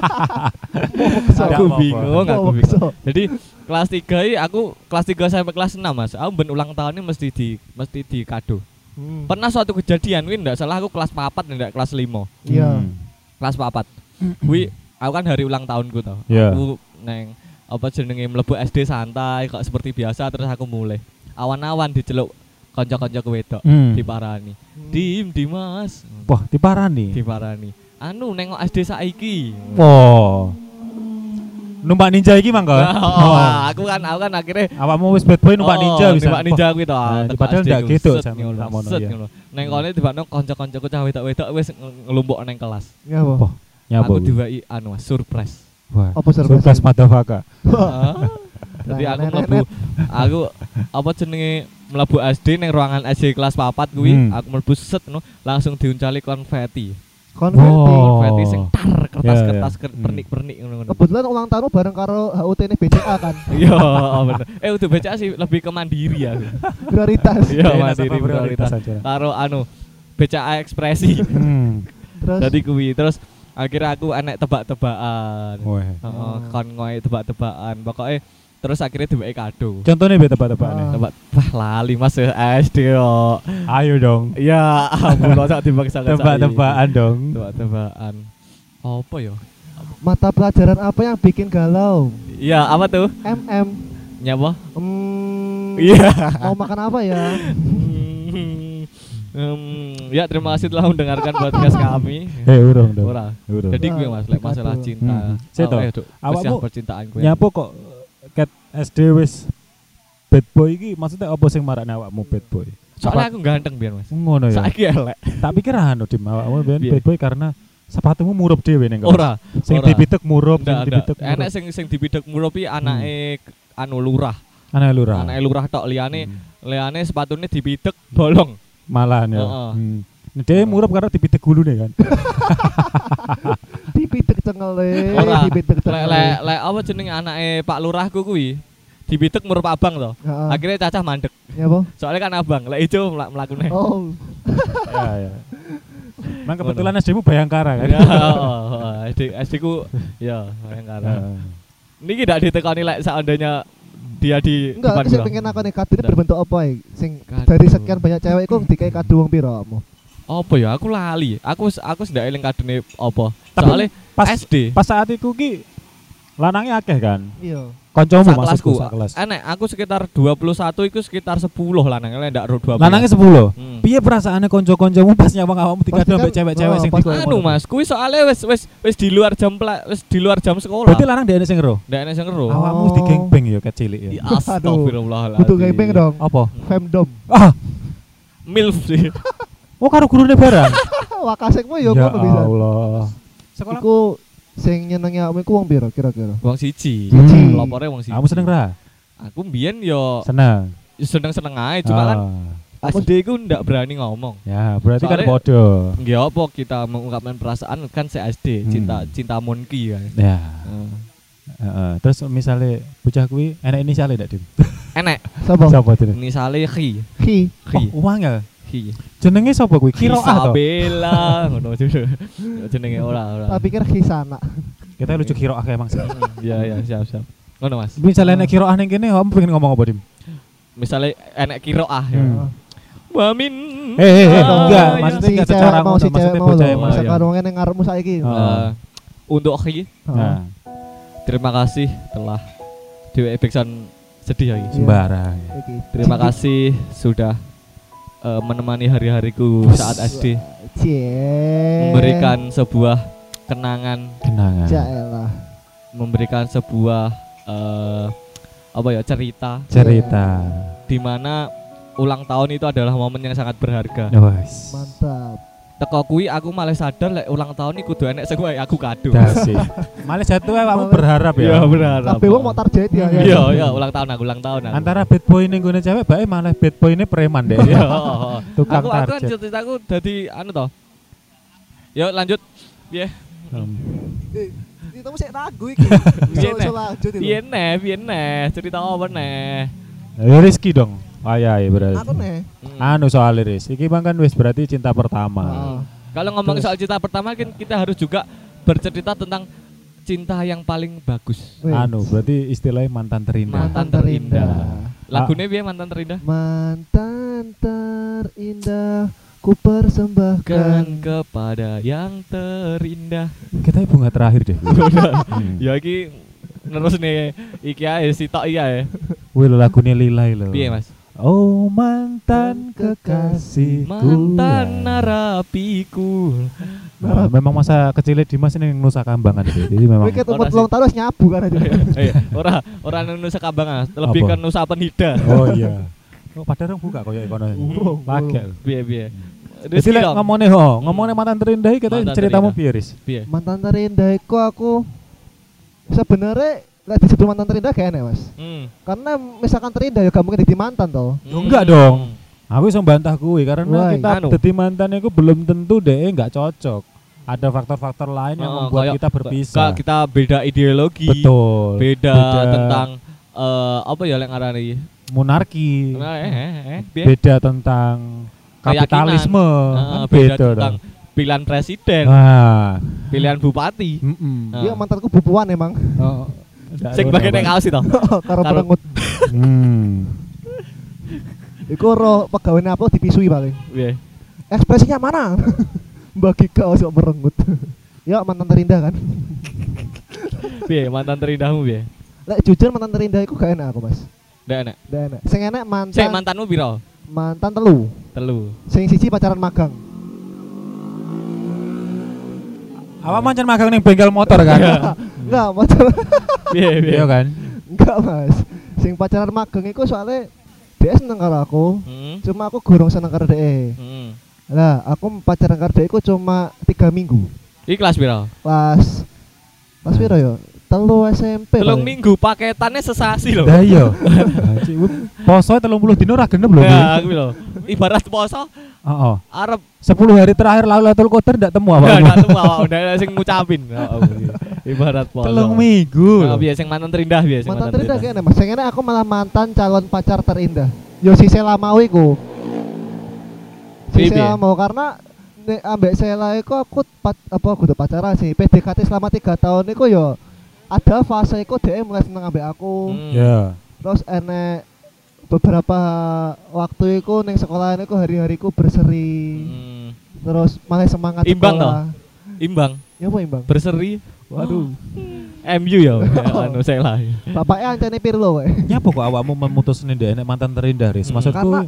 Speaker 2: Mau kesel.
Speaker 3: Ndak
Speaker 1: aku
Speaker 3: apa-apa.
Speaker 1: bingung,
Speaker 2: Mau
Speaker 1: aku bingung.
Speaker 2: kesel.
Speaker 1: Jadi kelas 3 ini aku kelas 3 sampai kelas 6 Mas. Aku ben ulang tahunnya mesti di mesti di kado.
Speaker 2: Hmm.
Speaker 1: Pernah suatu kejadian kuwi ndak salah aku kelas 4 ndak kelas 5.
Speaker 2: Iya.
Speaker 3: Hmm.
Speaker 1: Kelas 4. Kuwi aku kan hari ulang tahunku tau.
Speaker 3: Iya.
Speaker 1: Aku neng apa jenenge mlebu SD santai kok seperti biasa terus aku mulai awan-awan diceluk kanca-kanca wedok
Speaker 3: Hmm.
Speaker 1: diparani. Dim, Dimas,
Speaker 3: Wah, diparani.
Speaker 1: diparani. Anu nengok SD saiki.
Speaker 3: Wah. Numpak ninja iki mangko.
Speaker 1: Nah,
Speaker 3: Oh.
Speaker 1: aku kan aku kan akhirnya
Speaker 3: Awakmu wis bad boy numpak ninja bisa.
Speaker 1: Oh, numpak ninja kuwi to.
Speaker 3: Nah,
Speaker 1: Tekan
Speaker 3: padahal
Speaker 1: SD
Speaker 3: ndak
Speaker 1: ku,
Speaker 3: gitu,
Speaker 1: set
Speaker 3: Sam,
Speaker 1: ngono,
Speaker 3: tak mono,
Speaker 1: set
Speaker 3: iya.
Speaker 1: ngono. Neng kene tibakno kanca-kancaku cah wedok-wedok wis ng- ngelumpuk neng kelas.
Speaker 2: Ya, Bang.
Speaker 3: Wah. Nyapa
Speaker 1: Aku
Speaker 3: kuwi?
Speaker 1: diwai anu Mas, surprise.
Speaker 3: Wah.
Speaker 2: Apa surprise?
Speaker 3: Surprise madafaka.
Speaker 1: Ah, Jadi aku
Speaker 2: Nenek-nenek.
Speaker 1: mlebu aku apa jenenge mlebu SD neng ruangan SD kelas 4 kuwi,
Speaker 3: Hmm.
Speaker 1: aku mlebu set no, langsung diuncali konfeti.
Speaker 2: Konverti.
Speaker 3: Wow. Oh.
Speaker 1: Konfeti sing tar kertas-kertas
Speaker 3: iya.
Speaker 1: ker-
Speaker 3: Hmm.
Speaker 1: pernik-pernik ngono-ngono.
Speaker 2: Kebetulan ulang tahunmu bareng karo HUT ini BCA kan.
Speaker 1: Iya, bener. Eh udah baca sih lebih ke mandiri ya.
Speaker 2: Prioritas.
Speaker 1: Iya,
Speaker 3: Jadi
Speaker 1: mandiri
Speaker 3: nasabah prioritas
Speaker 1: prioritas.
Speaker 3: aja.
Speaker 1: Karo anu BCA ekspresi.
Speaker 3: Hmm.
Speaker 2: Terus
Speaker 1: Jadi kuwi terus akhirnya aku enek tebak-tebakan.
Speaker 3: Wah.
Speaker 1: Heeh, kon ngoe tebak-tebakan. Pokoknya terus akhirnya dibeki kado.
Speaker 3: Contohnya biar tebak-tebaknya.
Speaker 2: Ah.
Speaker 1: Tebak wah lali Mas ya, SD yo.
Speaker 3: Ayo dong.
Speaker 1: Ya ampun masa dibaksa
Speaker 3: Tebak-tebakan dong.
Speaker 1: Tebak-tebakan. Apa yo?
Speaker 2: mata pelajaran apa yang bikin galau?
Speaker 1: Iya, apa tuh?
Speaker 2: MM.
Speaker 1: Nyapa?
Speaker 2: Hmm,
Speaker 1: Iya.
Speaker 2: Mau makan apa ya?
Speaker 1: Hmm, ya terima kasih telah mendengarkan podcast kami.
Speaker 3: Eh, urung dong.
Speaker 1: Ora.
Speaker 3: Urung.
Speaker 1: Jadi gue Mas lek masalah cinta.
Speaker 3: Hmm. Saya tau.
Speaker 1: Awake, Dok.
Speaker 3: Awakmu
Speaker 1: Wes, percintaan gue.
Speaker 3: Nyapa kok eh, cat SD wis bad boy iki maksudnya apa sing marakne awakmu bad boy?
Speaker 1: Soalnya
Speaker 3: Apa-
Speaker 1: aku ganteng biar Mas.
Speaker 3: ngono ya.
Speaker 1: Saiki elek.
Speaker 3: Tak pikir anu dim awakmu ben
Speaker 1: Piye?
Speaker 3: bad boy karena sepatumu murup dhewe ning kono.
Speaker 1: Ora.
Speaker 3: Sing
Speaker 1: ora.
Speaker 3: dibitek murup, sing
Speaker 1: Ndak, ndak.
Speaker 3: dibitek
Speaker 1: Enek
Speaker 3: murup.
Speaker 1: sing sing dibidek murupi anake anu lurah.
Speaker 3: Anak lurah.
Speaker 1: Anake lurah tok liyane
Speaker 3: Hmm.
Speaker 1: liyane sepatune dibidek bolong.
Speaker 3: Malahan ya.
Speaker 1: Heeh.
Speaker 3: Hmm. Nah, Dia murup karena dibitek gulu nih kan.
Speaker 2: Dipitek cengele,
Speaker 1: Ora.
Speaker 2: dipitek
Speaker 1: Lek
Speaker 2: cengele.
Speaker 1: lek lek apa jenenge anake Pak Lurahku kuwi dibidek murup abang to.
Speaker 2: Heeh.
Speaker 1: Akhirnya cacah mandek.
Speaker 2: Ya, Bang.
Speaker 1: Soalnya kan abang lek ijo mel- mlakune.
Speaker 2: Oh,
Speaker 3: ya,
Speaker 1: Iya,
Speaker 3: ya. Emang kebetulan SD-mu Bayangkara kan.
Speaker 1: Ya, oh, oh, SD SD ku ya
Speaker 3: Heeh.
Speaker 1: bayangkan. Niki ndak ditekoni lek seandainya dia di
Speaker 2: enggak, sing
Speaker 1: gua.
Speaker 2: pengen aku nih kado ini
Speaker 1: Ndak.
Speaker 2: berbentuk apa ya? Sing
Speaker 1: Kado.
Speaker 2: dari sekian banyak cewek iku dikai kado wong pira kamu?
Speaker 1: Apa ya aku lali. Aku aku ndak eling kadune apa.
Speaker 3: Tapi
Speaker 1: Soalnya
Speaker 3: pas
Speaker 1: SD.
Speaker 3: pas saat itu ki Lanangnya akeh kan.
Speaker 2: iya
Speaker 3: Koncomu
Speaker 1: Sakelasku.
Speaker 3: maksudku sak kelas.
Speaker 1: Enek Eh, aku sekitar 21 iku sekitar 10 lanang lek ndak ro 12.
Speaker 3: Lanangnya 10.
Speaker 1: Hmm.
Speaker 3: Piye perasaannya konco-koncomu pas nyawang awakmu tiga
Speaker 2: Pasti
Speaker 3: dua
Speaker 2: kan-
Speaker 3: ambek cewek-cewek
Speaker 2: oh,
Speaker 3: sing
Speaker 2: pas-
Speaker 3: dikoyo
Speaker 1: Anu
Speaker 3: ngono?
Speaker 1: Mas, kuwi soalnya wis wis wis di luar jam pela- wis di luar jam sekolah.
Speaker 3: Berarti lanang dia sing ngero.
Speaker 1: Ndak enek sing ngero.
Speaker 2: Oh.
Speaker 3: Awakmu mesti gengbeng ya kecilik ya.
Speaker 1: Ya,
Speaker 2: Aduh.
Speaker 1: Astagfirullahaladzim.
Speaker 2: butuh gaming dong
Speaker 3: Apa?
Speaker 2: femdom
Speaker 3: Ah,
Speaker 1: Milf sih.
Speaker 3: oh karo gurune barang.
Speaker 2: wakasekmu yo ya, kok bisa
Speaker 3: Allah. Ya Sekolah
Speaker 2: iku sing nyenengi awakmu iku wong piro kira-kira
Speaker 1: Wong siji.
Speaker 3: Hmm.
Speaker 1: Pelopore wong siji.
Speaker 3: kamu seneng ra?
Speaker 1: Aku mbiyen yo
Speaker 3: Seneng.
Speaker 1: seneng-seneng ae, cuma kan
Speaker 3: Ah.
Speaker 1: SD ku ndak berani ngomong.
Speaker 3: Ya, berarti kan
Speaker 1: Soalnya-
Speaker 3: bodoh.
Speaker 1: Nggih Ya apa kita mengungkapkan perasaan kan se SD,
Speaker 3: Hmm.
Speaker 1: cinta cinta monki ya.
Speaker 3: Ya.
Speaker 1: Eh,
Speaker 3: heeh. Terus misalnya bocah kuwi enak ini sale ndak, Dim?
Speaker 1: Enek
Speaker 2: sapa
Speaker 3: Sapa jenenge?
Speaker 1: misale Ki,
Speaker 2: ki
Speaker 1: Ki,
Speaker 3: Oh, uang ya.
Speaker 1: Ki.
Speaker 3: Jenenge sapa kuwi? Kiroah to.
Speaker 1: Isabella ngono judul. Jenenge ora ora.
Speaker 2: tak pikir ki sana
Speaker 3: Kita lucu kiroah kayak emang sih.
Speaker 1: ya ya siap siap. Ngono Mas.
Speaker 3: Misalnya enak kiroah ning kene, kamu pengen ngomong apa, Dim?
Speaker 1: Misale enek kiroah ya.
Speaker 3: Hmm.
Speaker 1: Wamin.
Speaker 3: Eh, eh, eh,
Speaker 1: Ah,
Speaker 3: enggak,
Speaker 1: ya.
Speaker 2: Oh,
Speaker 3: maksudnya
Speaker 2: iya, si
Speaker 3: enggak
Speaker 2: cewek
Speaker 3: secara
Speaker 2: mau
Speaker 3: ngono,
Speaker 2: si cewek
Speaker 3: maksudnya
Speaker 2: mau
Speaker 3: bocah
Speaker 2: lho
Speaker 3: iya.
Speaker 1: emang.
Speaker 2: misalkan wong ngene ngarepmu saiki oh.
Speaker 3: Oh.
Speaker 1: Eh, untuk Ki,
Speaker 2: Heeh.
Speaker 3: Nah,
Speaker 1: terima kasih telah dheweke Beksan sedih ya iki.
Speaker 3: sembarang.
Speaker 2: Iki.
Speaker 1: Terima
Speaker 2: Jadi-
Speaker 1: kasih sudah eh, menemani hari-hariku saat SD,
Speaker 2: Cie.
Speaker 1: memberikan sebuah kenangan,
Speaker 3: Kenangan.
Speaker 2: Jaelah.
Speaker 1: memberikan sebuah eh, apa ya cerita
Speaker 3: Cerita.
Speaker 1: di mana ulang tahun itu adalah momen yang sangat
Speaker 3: Ya.
Speaker 1: berharga.
Speaker 3: Wes.
Speaker 2: Mantap.
Speaker 1: Teko kuwi aku malah sadar lek ulang tahun iki kudu enek sing wae aku kado.
Speaker 3: Dasi. Malah jatuh ya, kamu
Speaker 2: Malah-
Speaker 3: berharap ya.
Speaker 1: Iya, berharap.
Speaker 2: Kabeh wong mau target ya. ya.
Speaker 1: Iya, iya ulang tahun aku, ulang tahun aku.
Speaker 3: Antara bad boy ning gone cewek bae malah bad boy ini preman deh.
Speaker 1: Iya, oh, oh.
Speaker 3: Tukang
Speaker 1: aku aku kan
Speaker 3: target.
Speaker 1: ceritaku dadi anu toh. Yuk lanjut. Piye?
Speaker 3: Hmm.
Speaker 2: Ditamu sik ragu iki.
Speaker 3: Iya,
Speaker 1: Piye
Speaker 2: Iso
Speaker 1: neh?
Speaker 2: lanjut
Speaker 1: Piye
Speaker 2: itu.
Speaker 1: neh, piye neh, cerita apa neh?
Speaker 3: Ya, Rizky dong. Ayai berarti.
Speaker 2: Aku nih.
Speaker 1: Hmm.
Speaker 3: Anu soal Riz, iki bang kan wis berarti cinta pertama.
Speaker 2: Heeh.
Speaker 1: Kalau ngomong
Speaker 3: Terus.
Speaker 1: soal cinta pertama kan kita harus juga bercerita tentang cinta yang paling bagus.
Speaker 2: Wih.
Speaker 3: Anu berarti istilahnya mantan terindah.
Speaker 1: Mantan terindah. Lagunya
Speaker 3: Ah.
Speaker 1: piye mantan terindah?
Speaker 2: Mantan terindah ku persembahkan
Speaker 1: Kan kepada yang terindah.
Speaker 3: Kita bunga terakhir deh. Hmm.
Speaker 1: Ya iki terus nih iki ae sitok iya ya.
Speaker 3: Wih lo lagunya Lilai lo.
Speaker 1: Piye Mas?
Speaker 3: Oh mantan kekasihku.
Speaker 1: Mantan narapiku.
Speaker 3: Nah, memang masa kecilnya Dimas ini yang Nusa Kambangan itu. Jadi memang
Speaker 2: Kowe ketemu
Speaker 1: Ora sih.
Speaker 2: telung tahun harus nyabu kan aja.
Speaker 1: Eh, ora ora nang Nusa Kambangan, lebih
Speaker 3: Apa?
Speaker 1: ke Nusa Penida.
Speaker 3: Oh iya. Oh padahal orang buka koyo ekono.
Speaker 2: Urung,
Speaker 3: Pakai.
Speaker 1: Piye piye.
Speaker 3: Oh. Jadi
Speaker 1: Rizky
Speaker 3: lek
Speaker 1: dong.
Speaker 3: ngomongnya ho, ngomongnya mantan terindah kita
Speaker 1: Mantan
Speaker 3: ceritamu
Speaker 1: terindah.
Speaker 3: piye Riz?
Speaker 1: piye?
Speaker 2: Mantan terindah iku aku sebenarnya lek disebut mantan terindah gak enak, Mas.
Speaker 1: Hmm.
Speaker 2: Karena misalkan terindah ya gak mungkin jadi mantan toh.
Speaker 3: Oh, enggak
Speaker 1: Hmm.
Speaker 3: dong. Aku iso bantah kuwi karena
Speaker 2: Why?
Speaker 3: kita
Speaker 1: Anu.
Speaker 3: dadi mantan iku belum tentu deh nggak cocok. Ada faktor-faktor lain yang
Speaker 1: Oh,
Speaker 3: membuat
Speaker 1: kayak-
Speaker 3: kita berpisah.
Speaker 1: Kak, kita beda ideologi,
Speaker 3: Betul.
Speaker 1: beda, tentang eh, apa ya lek ngarani?
Speaker 3: Iya. monarki.
Speaker 1: Nah, eh, eh, eh, piye?
Speaker 3: Beda tentang
Speaker 1: Keyakinan.
Speaker 3: kapitalisme.
Speaker 1: Eh,
Speaker 3: Kan
Speaker 1: beda
Speaker 3: beda
Speaker 1: tentang
Speaker 3: dong.
Speaker 1: pilihan presiden,
Speaker 3: Nah.
Speaker 1: pilihan bupati.
Speaker 3: Mm-mm.
Speaker 1: Nah.
Speaker 2: Iya mantanku bubuan emang.
Speaker 3: Oh, nggak
Speaker 1: Sing
Speaker 3: ada
Speaker 1: bagian
Speaker 3: orang.
Speaker 1: yang kaos itu.
Speaker 2: Karo
Speaker 1: Karo-
Speaker 2: perengut.
Speaker 3: Hmm.
Speaker 2: Iku ro pegawai apa dipisui paling.
Speaker 1: Piye?
Speaker 2: Ekspresinya mana? Bagi kau sok merengut. ya mantan terindah kan.
Speaker 1: Piye mantan terindahmu piye?
Speaker 2: Lek jujur mantan terindah iku gak enak aku, Mas.
Speaker 1: Ndak enak.
Speaker 2: Gak enak. Sing enak mantan
Speaker 1: Sik mantanmu piro?
Speaker 2: mantan telu.
Speaker 1: Telu.
Speaker 2: Sing siji pacaran magang.
Speaker 3: Apa mancan magang ning bengkel motor
Speaker 1: Iya.
Speaker 3: kan?
Speaker 2: Enggak, pacaran
Speaker 1: Piye piye?
Speaker 3: Iya kan?
Speaker 2: enggak, Mas. Sing pacaran magang iku soalnya dia seneng karo aku.
Speaker 1: Hmm.
Speaker 2: Cuma aku gorong seneng karo dia.
Speaker 1: Hmm.
Speaker 2: Lah, aku pacaran karo dia iku cuma tiga minggu.
Speaker 1: Iki kelas piro?
Speaker 2: Pas pas piro yo? Telu SMP.
Speaker 1: Telung
Speaker 2: paling.
Speaker 1: minggu paketannya sesasi loh.
Speaker 3: Lah iya. Poso 30 dino ora genep lho.
Speaker 1: Ya, aku lho. Ibarat poso
Speaker 3: Heeh.
Speaker 1: Arab
Speaker 3: 10 hari terakhir Lailatul Qadar ndak temu apa?
Speaker 1: Nggak, nggak temu awak udah ada sing ngucapin. Oh, iya. Ibarat poso.
Speaker 3: Telung minggu.
Speaker 1: Nah, biasa yang mantan terindah biasa. yang
Speaker 2: mantan terindah kayak enak mas yang enak aku malah mantan calon pacar terindah yo si Sela mau iku si
Speaker 1: Piye, piye?
Speaker 2: Sela mau karena nek ambek Sela iku aku pat, apa aku udah pacaran sih PDKT selama tiga tahun iku yo ada fase iku dia mulai seneng ambek aku
Speaker 1: Hmm.
Speaker 3: Ya.
Speaker 2: terus enek beberapa waktu iku neng sekolah iku hari-hariku berseri
Speaker 1: Hmm.
Speaker 2: terus malah semangat
Speaker 1: Imbang
Speaker 2: sekolah.
Speaker 1: Imbang,
Speaker 2: ya apa imbang
Speaker 1: berseri.
Speaker 2: Waduh.
Speaker 1: MU ya, anu saya lah.
Speaker 2: Bapaknya ancane Pirlo kowe.
Speaker 3: Nyapa kok awakmu memutus ini enek mantan terindah, Riz?
Speaker 1: Hmm.
Speaker 3: Maksudku
Speaker 2: Karena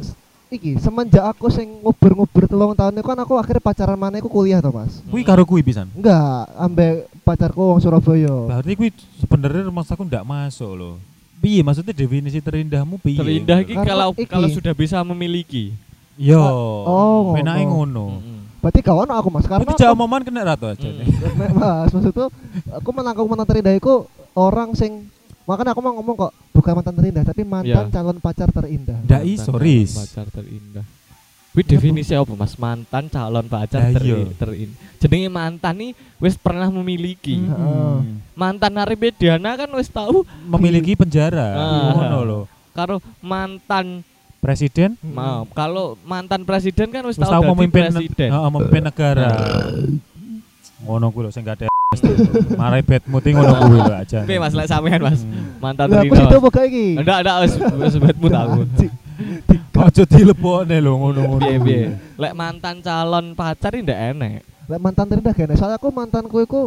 Speaker 2: iki semenjak aku sing ngubur-ngubur telung tahun itu kan aku akhirnya pacaran mana aku kuliah toh Mas.
Speaker 3: kuwi karo kuwi pisan.
Speaker 2: Enggak, ambek pacarku wong Surabaya.
Speaker 3: Berarti kuwi sebenarnya maksud aku ndak masuk loh. Piye maksudnya definisi terindahmu piye?
Speaker 1: Terindah iki kalau
Speaker 2: Karena iki.
Speaker 1: kalau sudah bisa memiliki.
Speaker 3: Yo.
Speaker 2: Oh,
Speaker 3: Oh, menake
Speaker 1: Hmm.
Speaker 2: ngono.
Speaker 3: ngono.
Speaker 2: Berarti gak ono aku Mas karena
Speaker 3: Itu
Speaker 2: aku-
Speaker 3: jauh momen kena ratu aja.
Speaker 1: Mm.
Speaker 2: Mek, Mas, maksudku aku menangkap mantan terindah iku orang sing makanya aku mau ngomong kok bukan mantan terindah tapi
Speaker 1: Iya.
Speaker 2: mantan calon pacar terindah.
Speaker 3: Ndak iso, Riz.
Speaker 1: Pacar terindah. Kuwi definisi apa Mas? Mantan calon pacar
Speaker 3: Lah
Speaker 1: teri-
Speaker 3: iya.
Speaker 1: terindah. Jenenge mantan nih wis pernah memiliki.
Speaker 2: Hmm.
Speaker 1: Mantan Arif Diana kan wis tahu
Speaker 3: Memiliki penjara. Iya,
Speaker 1: Ah.
Speaker 3: Ngono loh.
Speaker 1: karo mantan
Speaker 3: Presiden
Speaker 2: Hmm.
Speaker 1: maaf, kalau mantan presiden kan wis
Speaker 3: Wis
Speaker 1: tahu
Speaker 3: tahu
Speaker 1: dadi
Speaker 3: memimpin
Speaker 1: presiden.
Speaker 3: Heeh, memimpin negara. Ngono kuwi lho sing gak ada. Marai bedmu ti ngono kuwi lho Hmm. aja.
Speaker 1: Oke Mas, lek sampean Mas. Mantan
Speaker 2: Lah aku
Speaker 1: terindah.
Speaker 2: situ
Speaker 1: Mas.
Speaker 2: apa gak iki?
Speaker 1: Ndak ndak wis wis bedmu tahu.
Speaker 2: Anjing.
Speaker 3: Aja dilebokne lho ngono-ngono.
Speaker 1: Piye piye. Lek mantan calon pacar ini ndak enek.
Speaker 2: Lah mantan terindah gak enak. Soalnya aku mantanku iku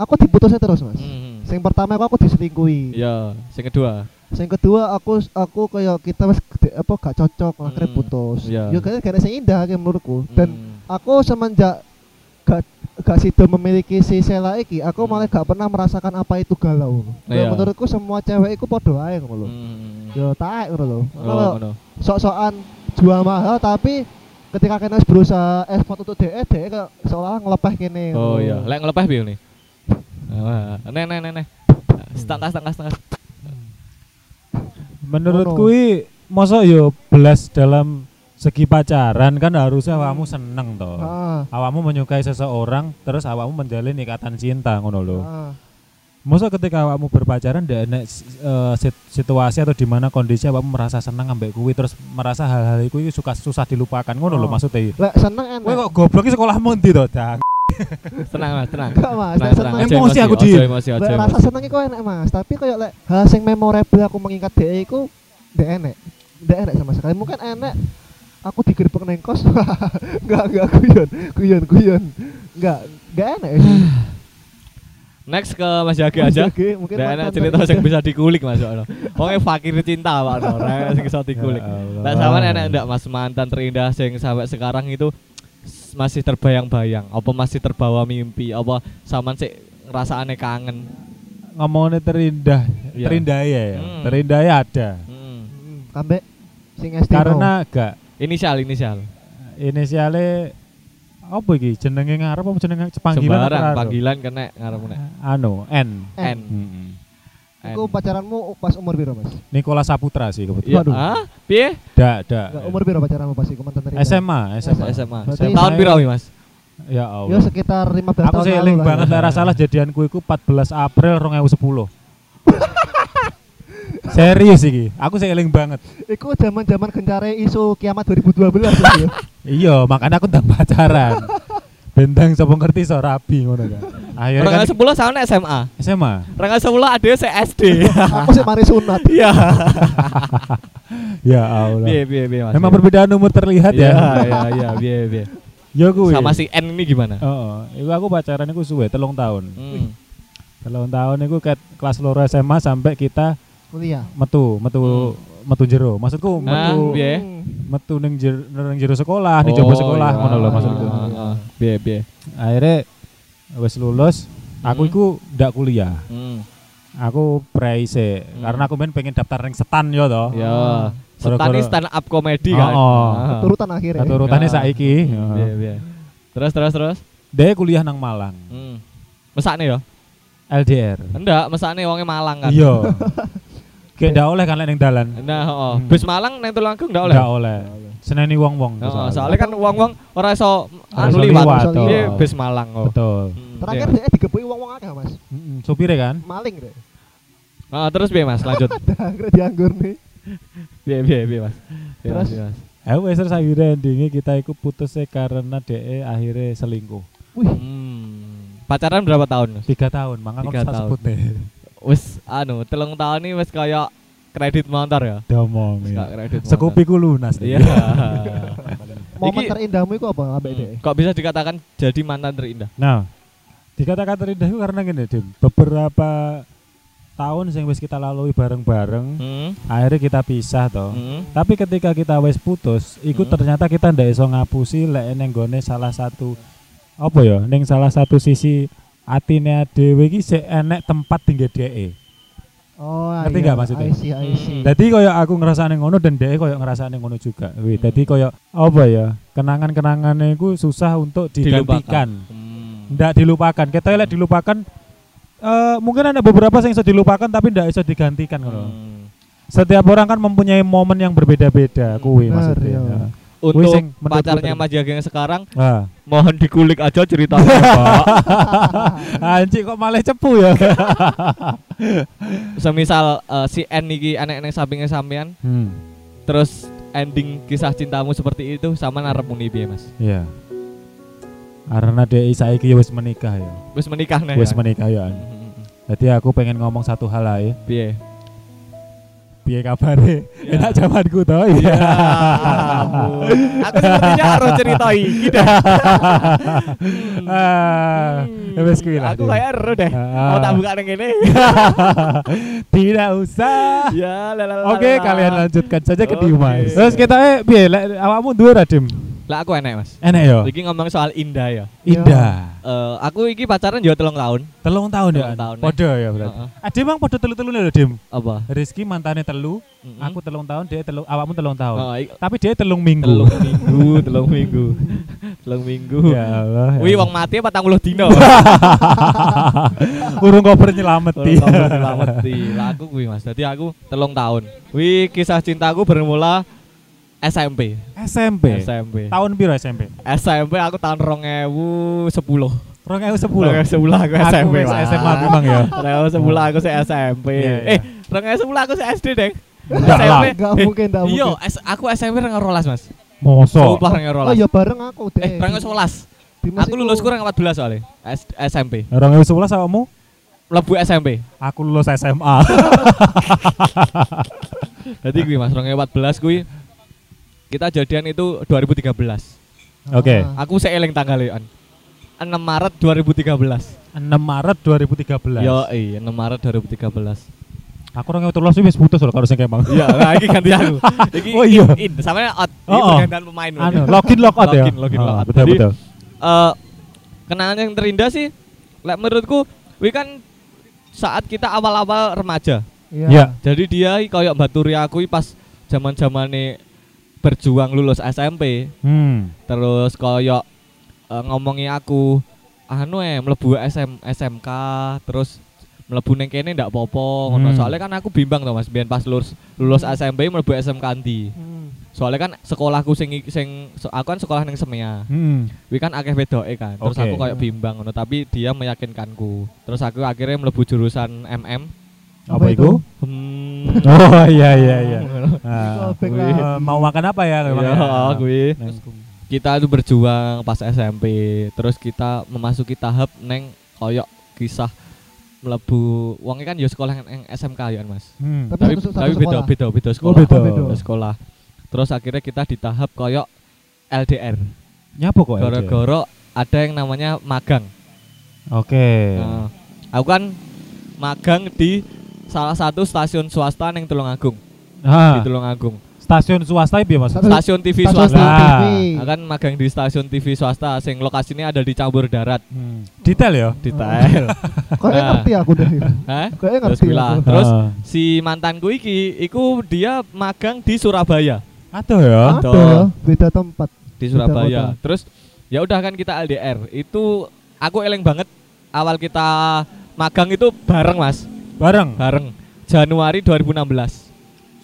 Speaker 2: aku diputusnya terus, Mas.
Speaker 1: Hmm.
Speaker 2: Sing pertama aku, aku diselingkuhi.
Speaker 1: Ya, sing kedua.
Speaker 2: Sing kedua aku aku kayak kita wis gede- apa gak cocok lah akhirnya
Speaker 1: Hmm,
Speaker 2: putus.
Speaker 1: iya.
Speaker 2: Ya kayaknya gak enak sing indah kayak menurutku. Dan
Speaker 1: Hmm.
Speaker 2: aku semenjak gak gak sido memiliki si Sela iki, aku malah gak pernah merasakan apa itu galau.
Speaker 1: Hmm.
Speaker 2: Dan
Speaker 1: Iya.
Speaker 2: menurutku semua cewek iku podo ae ngono lho.
Speaker 1: Hmm.
Speaker 2: Yo taek ngono lho. Ya, Kalau
Speaker 1: Oh, ngono.
Speaker 2: sok-sokan jual mahal tapi ketika kena harus berusaha effort untuk DE, DE E kayak seolah ngelepeh kene.
Speaker 1: Oh iya, lek ngelepeh piye Ah, nih? Neh neh neh neh. Setengah setengah setengah.
Speaker 3: Menurut
Speaker 2: Ngono.
Speaker 3: kui masa yo belas dalam segi pacaran kan harusnya awakmu seneng toh.
Speaker 2: Heeh.
Speaker 3: Awakmu menyukai seseorang terus awakmu menjalin ikatan cinta ngono lho.
Speaker 2: Heeh.
Speaker 3: Masa ketika awakmu berpacaran ndak enek eh, sit- situasi atau di mana kondisi awakmu merasa seneng ambek kuwi terus merasa hal-hal iku suka susah dilupakan ngono lho
Speaker 2: Oh.
Speaker 3: maksudnya.
Speaker 2: Lek seneng enak.
Speaker 3: Kowe kok goblok iki sekolahmu ndi to, Dak?
Speaker 1: Tenang Mas, tenang.
Speaker 2: Enggak,
Speaker 1: Tenang,
Speaker 2: Mas. Lek
Speaker 1: tenang.
Speaker 2: seneng
Speaker 1: Aja
Speaker 3: Emosi aku,
Speaker 1: aja
Speaker 3: Di.
Speaker 1: emosi aja.
Speaker 2: Lek rasa
Speaker 1: emosi.
Speaker 2: seneng iku enak Mas, tapi kayak lek hal sing memorable aku mengingat DE iku ndek enek. Ndek enek sama sekali. Mungkin enek aku digerebek neng kos. Enggak, enggak guyon. Guyon, guyon. Enggak, enggak enak.
Speaker 1: Next ke Mas Jage aja.
Speaker 2: Oke, mungkin Hmm,
Speaker 1: Ndak enak
Speaker 2: mantan
Speaker 1: cerita
Speaker 2: terindah.
Speaker 1: sing bisa dikulik Mas Ono. Wonge fakir cinta Pak Ono, ora enak sing iso dikulik.
Speaker 3: Ya Allah.
Speaker 1: Lek sampean enak ndak Mas mantan terindah sing sampai sekarang itu s- masih terbayang-bayang, apa masih terbawa mimpi, apa sampean sik rasane kangen.
Speaker 3: Ngomongnya terindah,
Speaker 1: Iya.
Speaker 3: terindah ya. ya.
Speaker 1: Hmm.
Speaker 3: Terindah ya ada.
Speaker 1: Hmm.
Speaker 2: Hmm, Kambek sing SD.
Speaker 3: Karena gak
Speaker 1: Inisial inisial.
Speaker 3: inisiale apa iki jenenge ngarep apa jenenge panggilan apa
Speaker 1: Sembarang
Speaker 3: karo?
Speaker 1: panggilan Hmm. kena ngarepmu nek.
Speaker 3: anu N
Speaker 1: N.
Speaker 2: Iku pacaranmu pas umur piro, Mas?
Speaker 3: Nikola Saputra sih
Speaker 1: Iya.
Speaker 3: kebetulan
Speaker 2: Waduh.
Speaker 1: Ah, piye?
Speaker 3: dak dak
Speaker 1: Eh.
Speaker 2: Enggak umur piro pacaranmu pas iku mantan terindah?
Speaker 3: SMA SMA
Speaker 1: SMA.
Speaker 2: Berarti
Speaker 1: Tahun
Speaker 3: saya-
Speaker 1: piro Iya, wi, Mas?
Speaker 3: ya
Speaker 2: Ya
Speaker 3: Allah
Speaker 2: sekitar 15
Speaker 3: aku
Speaker 2: tahun
Speaker 3: seling
Speaker 2: lah. ya.
Speaker 3: banget lah salah jadianku iku 14 April 2010 serius iki aku seling banget
Speaker 2: Iku zaman-zaman gencare isu kiamat 2012 gitu.
Speaker 3: iya makanya aku ndak pacaran bentang sapa ngerti so rabi ngono kan akhirnya
Speaker 1: Orang
Speaker 3: kan
Speaker 1: sepuluh sama nek SMA.
Speaker 3: SMA
Speaker 1: Orang sepuluh ada SD.
Speaker 2: Aku sih mari sunat.
Speaker 1: Iya.
Speaker 3: ya Allah
Speaker 1: Piye piye piye Mas.
Speaker 3: memang perbedaan umur terlihat
Speaker 1: Iya
Speaker 3: ya
Speaker 1: iya iya piye piye.
Speaker 3: ya gue
Speaker 1: Sama si N ini gimana?
Speaker 3: Oh, iku aku pacaran iku suwe telung tahun.
Speaker 1: Hmm.
Speaker 3: Telung tahun iku ket kelas loro SMA sampai kita
Speaker 2: Kuliah.
Speaker 3: metu, metu metu jero. Maksudku
Speaker 1: Hmm. Ah,
Speaker 3: metu
Speaker 1: piye?
Speaker 2: Hmm.
Speaker 3: metu ning jero, ning jero sekolah, ning jaba ah, sekolah
Speaker 1: Oh, iya.
Speaker 3: ngono lho maksudku.
Speaker 1: Ah, ah. Piye piye.
Speaker 3: Akhirnya wis lulus, aku
Speaker 1: Hmm.
Speaker 3: iku ndak kuliah.
Speaker 1: Hmm.
Speaker 3: Aku prei sik,
Speaker 1: Hmm.
Speaker 3: karena aku main pengen daftar ning setan yo to.
Speaker 1: Ya.
Speaker 3: Oh. Gara-gara-
Speaker 1: Setani stand up comedy kan.
Speaker 3: Oh, Ah. oh.
Speaker 1: Ah.
Speaker 2: Turutan akhirnya.
Speaker 3: Satu rutane
Speaker 1: Ya.
Speaker 3: saiki.
Speaker 1: Piye piye. Terus terus terus.
Speaker 3: Dia kuliah nang Malang,
Speaker 1: Hmm. Mesakne ya?
Speaker 3: LDR.
Speaker 1: Enggak, mesakne wonge Malang kan.
Speaker 3: Iya. Kayak ndak oleh kan lek ning dalan.
Speaker 1: Nah, oh.
Speaker 3: Hmm. oh,
Speaker 1: Bus Malang nang Tulungagung enggak oleh.
Speaker 3: Ndak oleh. Seneni wong-wong.
Speaker 1: Heeh,
Speaker 3: soalnya.
Speaker 1: soalnya kan uang-uang ora iso
Speaker 3: Ora
Speaker 1: anu
Speaker 3: iso oh.
Speaker 1: liwat.
Speaker 2: liwat, toh.
Speaker 1: Iki bis Malang kok.
Speaker 3: Betul.
Speaker 1: Hmm,
Speaker 2: Terakhir
Speaker 1: iya.
Speaker 2: dia digebuki wong-wong akeh, Mas.
Speaker 3: Mm-mm, Supire kan?
Speaker 2: Maling deh.
Speaker 1: Ah, terus piye Mas? Lanjut.
Speaker 2: Akhirnya dianggur nih.
Speaker 1: Piye piye piye Mas? Piye, Mas,
Speaker 2: Terus?
Speaker 1: piye, Mas?
Speaker 3: Eh wes terus akhirnya endingnya kita ikut putus e karena DE akhirnya selingkuh.
Speaker 2: Wih,
Speaker 1: Hmm. Pacaran berapa tahun?
Speaker 3: Tiga tahun, maka
Speaker 1: Tiga
Speaker 3: kamu
Speaker 1: tahun.
Speaker 3: sebut nih.
Speaker 1: Wis anu, telung tahun ini wis kayak kredit motor ya.
Speaker 3: Domong.
Speaker 1: Wis kayak kredit motor.
Speaker 3: Sekupi ku lunas.
Speaker 1: Iya.
Speaker 2: momen
Speaker 1: Iki-
Speaker 2: terindahmu itu apa ambek
Speaker 1: Hmm.
Speaker 2: deh?
Speaker 1: Kok bisa dikatakan jadi mantan terindah?
Speaker 3: Nah, dikatakan terindah itu karena gini Dim beberapa tahun yang wis kita lalui bareng-bareng
Speaker 1: Hmm,
Speaker 3: akhirnya kita pisah toh
Speaker 1: hmm.
Speaker 3: tapi ketika kita wis putus iku
Speaker 1: Hmm.
Speaker 3: ternyata kita ndak iso ngapusi lek neng gone salah satu apa ya neng salah satu sisi atine dhewe iki sik enek tempat tinggi dheke
Speaker 2: Oh,
Speaker 3: Ngerti
Speaker 2: iya,
Speaker 3: nggak maksudnya?
Speaker 2: I see, I see.
Speaker 1: Hmm.
Speaker 3: Jadi koyo aku ngrasane ngono dan dhek koyo ngrasane ngono juga. Wih,
Speaker 1: Hmm.
Speaker 3: jadi koyo apa ya? Kenangan-kenangannya iku susah untuk digantikan.
Speaker 1: Hmm.
Speaker 3: Ndak dilupakan. Kita lek dilupakan eh mungkin ada beberapa yang bisa dilupakan tapi ndak bisa digantikan ngono.
Speaker 1: Hmm.
Speaker 3: Setiap orang kan mempunyai momen yang berbeda-beda,
Speaker 2: Bener,
Speaker 3: kuwi maksudnya.
Speaker 2: ya.
Speaker 1: iya.
Speaker 3: Nah. Wih, sing
Speaker 1: Untuk
Speaker 3: menurut
Speaker 1: pacarnya
Speaker 3: Putri.
Speaker 1: Mas Jageng sekarang
Speaker 3: Ah.
Speaker 1: mohon dikulik aja ceritanya, Pak.
Speaker 3: Anjir kok malah cepu ya.
Speaker 1: Semisal eh, si N niki anak-anak sampingnya sampean
Speaker 3: hmm.
Speaker 1: terus ending kisah cintamu seperti itu sama narep muni piye, Mas?
Speaker 3: Iya. Karena DI saiki ya wis menikah ya.
Speaker 1: Wis menikah nih.
Speaker 3: Wis
Speaker 1: ya?
Speaker 3: menikah
Speaker 1: Hmm,
Speaker 3: ya.
Speaker 1: hmm, hmm.
Speaker 3: Jadi aku pengen ngomong satu hal aja.
Speaker 1: Piye?
Speaker 3: piye kabare enak jamanku to iya
Speaker 1: Ya ampun. Aku sepertinya harus cerita gitu. iki dah.
Speaker 3: Ah, ya wes kuwi lah
Speaker 1: Aku
Speaker 3: Dim.
Speaker 1: kayak ero deh.
Speaker 3: Ah.
Speaker 1: Mau tak buka nang kene.
Speaker 3: tidak usah
Speaker 1: Ya, lalalala.
Speaker 3: oke kalian lanjutkan saja ke
Speaker 1: Oke.
Speaker 3: Dimas terus kita eh piye lek awakmu duwe ra Dim
Speaker 1: Lah aku enak, Mas.
Speaker 3: enak yo
Speaker 1: Iki ngomong soal indah ya.
Speaker 3: indah
Speaker 1: Eh, aku iki pacaran yo telung tahun.
Speaker 3: telung tahun ya
Speaker 1: Telung tahun, ya.
Speaker 3: podo ya berarti
Speaker 1: Heeh.
Speaker 3: ada emang podo telu-telu lho Dim
Speaker 1: Apa?
Speaker 3: Rizky mantannya telu
Speaker 1: Mm-mm.
Speaker 3: aku telung tahun dia telung awakmu telung tahun
Speaker 1: Hmm. Oh, i-
Speaker 3: tapi dia telung minggu
Speaker 1: telung minggu, telung minggu. telung minggu.
Speaker 3: ya Allah ya
Speaker 1: Wih,
Speaker 3: Allah.
Speaker 1: wong mati apa tangguh dino?
Speaker 3: urung koper nyelameti
Speaker 1: Tolong kamu selamati. Lah aku kuwi Mas. Dadi aku telung tahun. Wih, kisah cintaku bermula SMP.
Speaker 3: SMP
Speaker 1: SMP.
Speaker 3: tahun biru SMP
Speaker 1: SMP aku tahun 2010. 2010
Speaker 3: Rong ewu sepuluh.
Speaker 1: aku SMP.
Speaker 3: wis
Speaker 1: Mas.
Speaker 3: SMA memang ya.
Speaker 1: 2010 aku sih SMP.
Speaker 3: Iya, iya.
Speaker 1: Eh, 2010 aku sih SD, Deng.
Speaker 3: Enggak lah.
Speaker 2: Enggak
Speaker 1: Eh,
Speaker 2: mungkin, enggak
Speaker 1: Iya,
Speaker 2: mungkin.
Speaker 1: S- aku SMP rong rolas, Mas.
Speaker 3: Moso.
Speaker 1: Sumpah rong
Speaker 2: Oh,
Speaker 1: rolas.
Speaker 3: iya,
Speaker 2: ya bareng aku deh.
Speaker 1: Eh, rong rolas.
Speaker 2: Dimas
Speaker 1: Aku
Speaker 2: iku-
Speaker 1: lulus kurang 14 soalnya. S- SMP.
Speaker 3: Rong ewu sebelas awakmu?
Speaker 1: Mlebu SMP.
Speaker 3: Aku lulus SMA.
Speaker 1: Jadi kuwi Mas, 2014 kuwi kita jadian itu 2013.
Speaker 3: Oke.
Speaker 2: Ah.
Speaker 1: Aku saya eling tanggalnya, An. 6 Maret 2013.
Speaker 3: 6 Maret 2013.
Speaker 1: Yo, iya 6 Maret 2013.
Speaker 3: Aku rong ewu telulas wis putus loh karo sing kemang.
Speaker 1: Iya, nah iki ganti aku. Iki
Speaker 3: Oh, iya.
Speaker 1: in, sama out. Iki
Speaker 3: Oh, oh.
Speaker 1: pergantian pemain.
Speaker 3: Anu, login lock out ya.
Speaker 1: Login, login,
Speaker 3: Ah,
Speaker 1: lock out.
Speaker 3: Betul
Speaker 1: Jadi-
Speaker 3: betul.
Speaker 1: Eh, kenangan yang terindah sih lek menurutku wi kan saat kita awal-awal remaja.
Speaker 3: Iya.
Speaker 1: Jadi dia i- kayak baturi aku i pas zaman-zamane berjuang lulus SMP,
Speaker 3: Hmm.
Speaker 1: terus koyok eh, ngomongi aku anu eh mlebu SM SMK terus mlebu ning kene ndak apa-apa ngono.
Speaker 3: Hmm.
Speaker 1: Soalnya kan aku bimbang to Mas biyen pas lulus lulus SMP mlebu SMK ndi.
Speaker 2: Hmm.
Speaker 1: Soalnya kan sekolahku sing i- sing so- aku kan sekolah ning Semea.
Speaker 3: Hmm.
Speaker 1: Wi kan akeh wedoke kan. Terus
Speaker 3: Oke.
Speaker 1: aku kayak bimbang ngono tapi dia meyakinkanku. Terus aku akhirnya mlebu jurusan MM.
Speaker 3: Apa
Speaker 2: Apa
Speaker 3: itu?
Speaker 2: itu?
Speaker 1: Hmm.
Speaker 3: Oh iya iya iya.
Speaker 2: Call
Speaker 3: Ah.
Speaker 2: back
Speaker 1: wih.
Speaker 2: lah.
Speaker 3: Eh, mau makan apa ya memang?
Speaker 1: Iya,
Speaker 3: ya?
Speaker 1: kuwi.
Speaker 3: Neng-
Speaker 1: Kita itu berjuang pas SMP, terus kita memasuki tahap neng koyok kisah mlebu wong kan ya sekolah neng SMK ya Mas.
Speaker 3: Hmm.
Speaker 2: Tapi
Speaker 1: Tapi
Speaker 2: satu- satu
Speaker 1: tapi beda beda
Speaker 2: sekolah.
Speaker 1: beda
Speaker 3: Oh
Speaker 1: sekolah.
Speaker 3: beda.
Speaker 2: beda.
Speaker 1: Beda sekolah. Terus akhirnya kita di tahap koyok LDR.
Speaker 3: Nyapo kok.
Speaker 2: ya?
Speaker 3: LDR?
Speaker 1: Goro-goro ada yang namanya magang.
Speaker 3: Oke.
Speaker 2: Iya.
Speaker 1: Nah, aku kan magang di salah satu stasiun swasta neng Tulungagung, di
Speaker 3: Ah,
Speaker 1: Tulungagung.
Speaker 3: Stasiun swasta piye Mas?
Speaker 2: Satu-
Speaker 1: Nah, gitu Stasiun TV
Speaker 2: Stasiun
Speaker 1: swasta.
Speaker 3: Nah.
Speaker 2: TV.
Speaker 1: Aku kan magang di stasiun TV swasta sing lokasinya ada di Campur Darat.
Speaker 3: Hmm. Detail ya.
Speaker 2: Oh.
Speaker 1: Detail.
Speaker 2: Kayaknya
Speaker 1: Nah.
Speaker 2: ngerti aku deh.
Speaker 1: Hah?
Speaker 2: Kayaknya
Speaker 1: Terus
Speaker 2: ngerti.
Speaker 1: bilang.
Speaker 2: aku.
Speaker 1: Terus-
Speaker 3: Ah.
Speaker 1: Si mantanku iki iku dia magang di Surabaya,
Speaker 3: Atuh ya.
Speaker 1: Betul.
Speaker 2: Ada beda tempat.
Speaker 1: di
Speaker 2: Beda
Speaker 1: Surabaya.
Speaker 2: kota.
Speaker 1: Terus ya udah kan kita LDR. Itu aku eleng banget awal kita magang itu bareng, Mas.
Speaker 3: Bareng.
Speaker 1: Bareng. Januari 2016.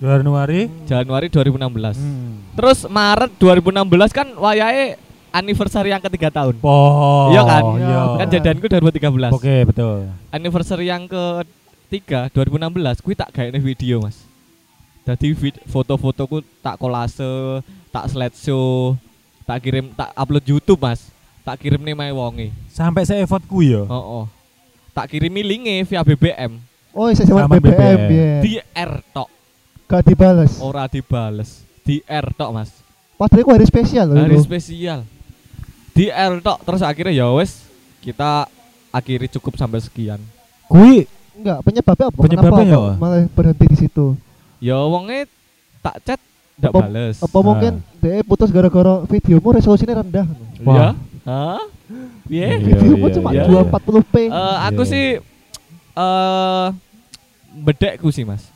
Speaker 3: Januari.
Speaker 1: Januari 2016.
Speaker 3: Hmm.
Speaker 1: Terus Maret 2016 kan wayahe anniversary yang ketiga tahun.
Speaker 3: Oh.
Speaker 1: Iya kan?
Speaker 3: Iya.
Speaker 1: Kan jadianku 2013.
Speaker 3: Oke, betul.
Speaker 1: Anniversary yang ketiga 2016 kuwi tak gaene video, Mas. Jadi vid- foto-fotoku tak kolase, tak slideshow, tak kirim tak upload YouTube, Mas. Tak kirim nih mae wonge.
Speaker 3: Sampai saya effortku ya.
Speaker 1: Oh, Tak kirimi linke via BBM.
Speaker 2: Oh, saya sama
Speaker 3: Sama
Speaker 2: BBM
Speaker 3: BBM.
Speaker 2: ya.
Speaker 1: Di R tok,
Speaker 2: Gak dibales.
Speaker 1: ora dibales. Di R tok, Mas.
Speaker 2: Padahal aku hari spesial loh.
Speaker 1: hari
Speaker 2: itu.
Speaker 1: spesial di R tok terus akhirnya ya wes kita akhiri cukup sampai sekian.
Speaker 3: Kui
Speaker 2: Enggak, penyebabnya apa?
Speaker 3: Penyebabnya
Speaker 2: Kenapa
Speaker 3: ya,
Speaker 2: kok
Speaker 3: Wak?
Speaker 2: malah berhenti di situ?
Speaker 1: Ya wonge tak chat ndak
Speaker 2: Apa-
Speaker 1: bales.
Speaker 2: Apa
Speaker 3: Ah.
Speaker 2: mungkin dia putus gara-gara videomu resolusinya rendah?
Speaker 1: Ya.
Speaker 3: Wah.
Speaker 1: Hah? Piye?
Speaker 3: Iya,
Speaker 2: videomu
Speaker 3: iya,
Speaker 2: cuma
Speaker 1: iya.
Speaker 2: 240p.
Speaker 1: Eh, aku
Speaker 3: Iya.
Speaker 1: sih eh bedekku sih, Mas.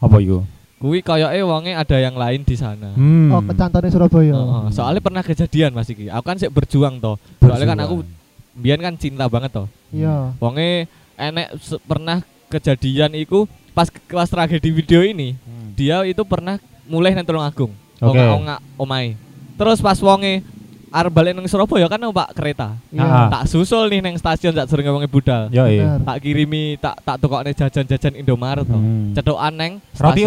Speaker 3: apa iku?
Speaker 1: Kuwi koyoke wonge ada yang lain di sana.
Speaker 3: Hmm.
Speaker 2: Oh, kecantannya Surabaya.
Speaker 1: Heeh,
Speaker 3: Ah.
Speaker 1: soalnya pernah kejadian Mas iki. Aku kan sik berjuang toh. Soalnya kan aku biyen kan cinta banget toh.
Speaker 2: Iya.
Speaker 1: Wonge enek se- pernah kejadian iku pas kelas tragedi video ini
Speaker 3: Hmm.
Speaker 1: dia itu pernah mulai nang Tulung Agung.
Speaker 3: Oke.
Speaker 1: Onga-onga omahe. Terus pas wonge arep balik nang Surabaya kan numpak kereta.
Speaker 2: Iya.
Speaker 3: Ah.
Speaker 1: Tak susul nih nang stasiun tak sering ngomongin budal.
Speaker 3: Yo iya.
Speaker 2: Benar.
Speaker 1: Tak kirimi tak tak tukokne jajan-jajan Indomaret toh.
Speaker 3: Hmm.
Speaker 1: Cetokan neng
Speaker 3: Roti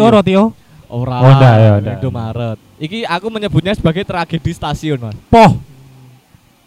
Speaker 1: stasiun.
Speaker 3: o roti o.
Speaker 1: Ora.
Speaker 3: Oh, ndak, ya, ndak.
Speaker 1: Indomaret. Iki aku menyebutnya sebagai tragedi stasiun, Mas.
Speaker 3: Poh.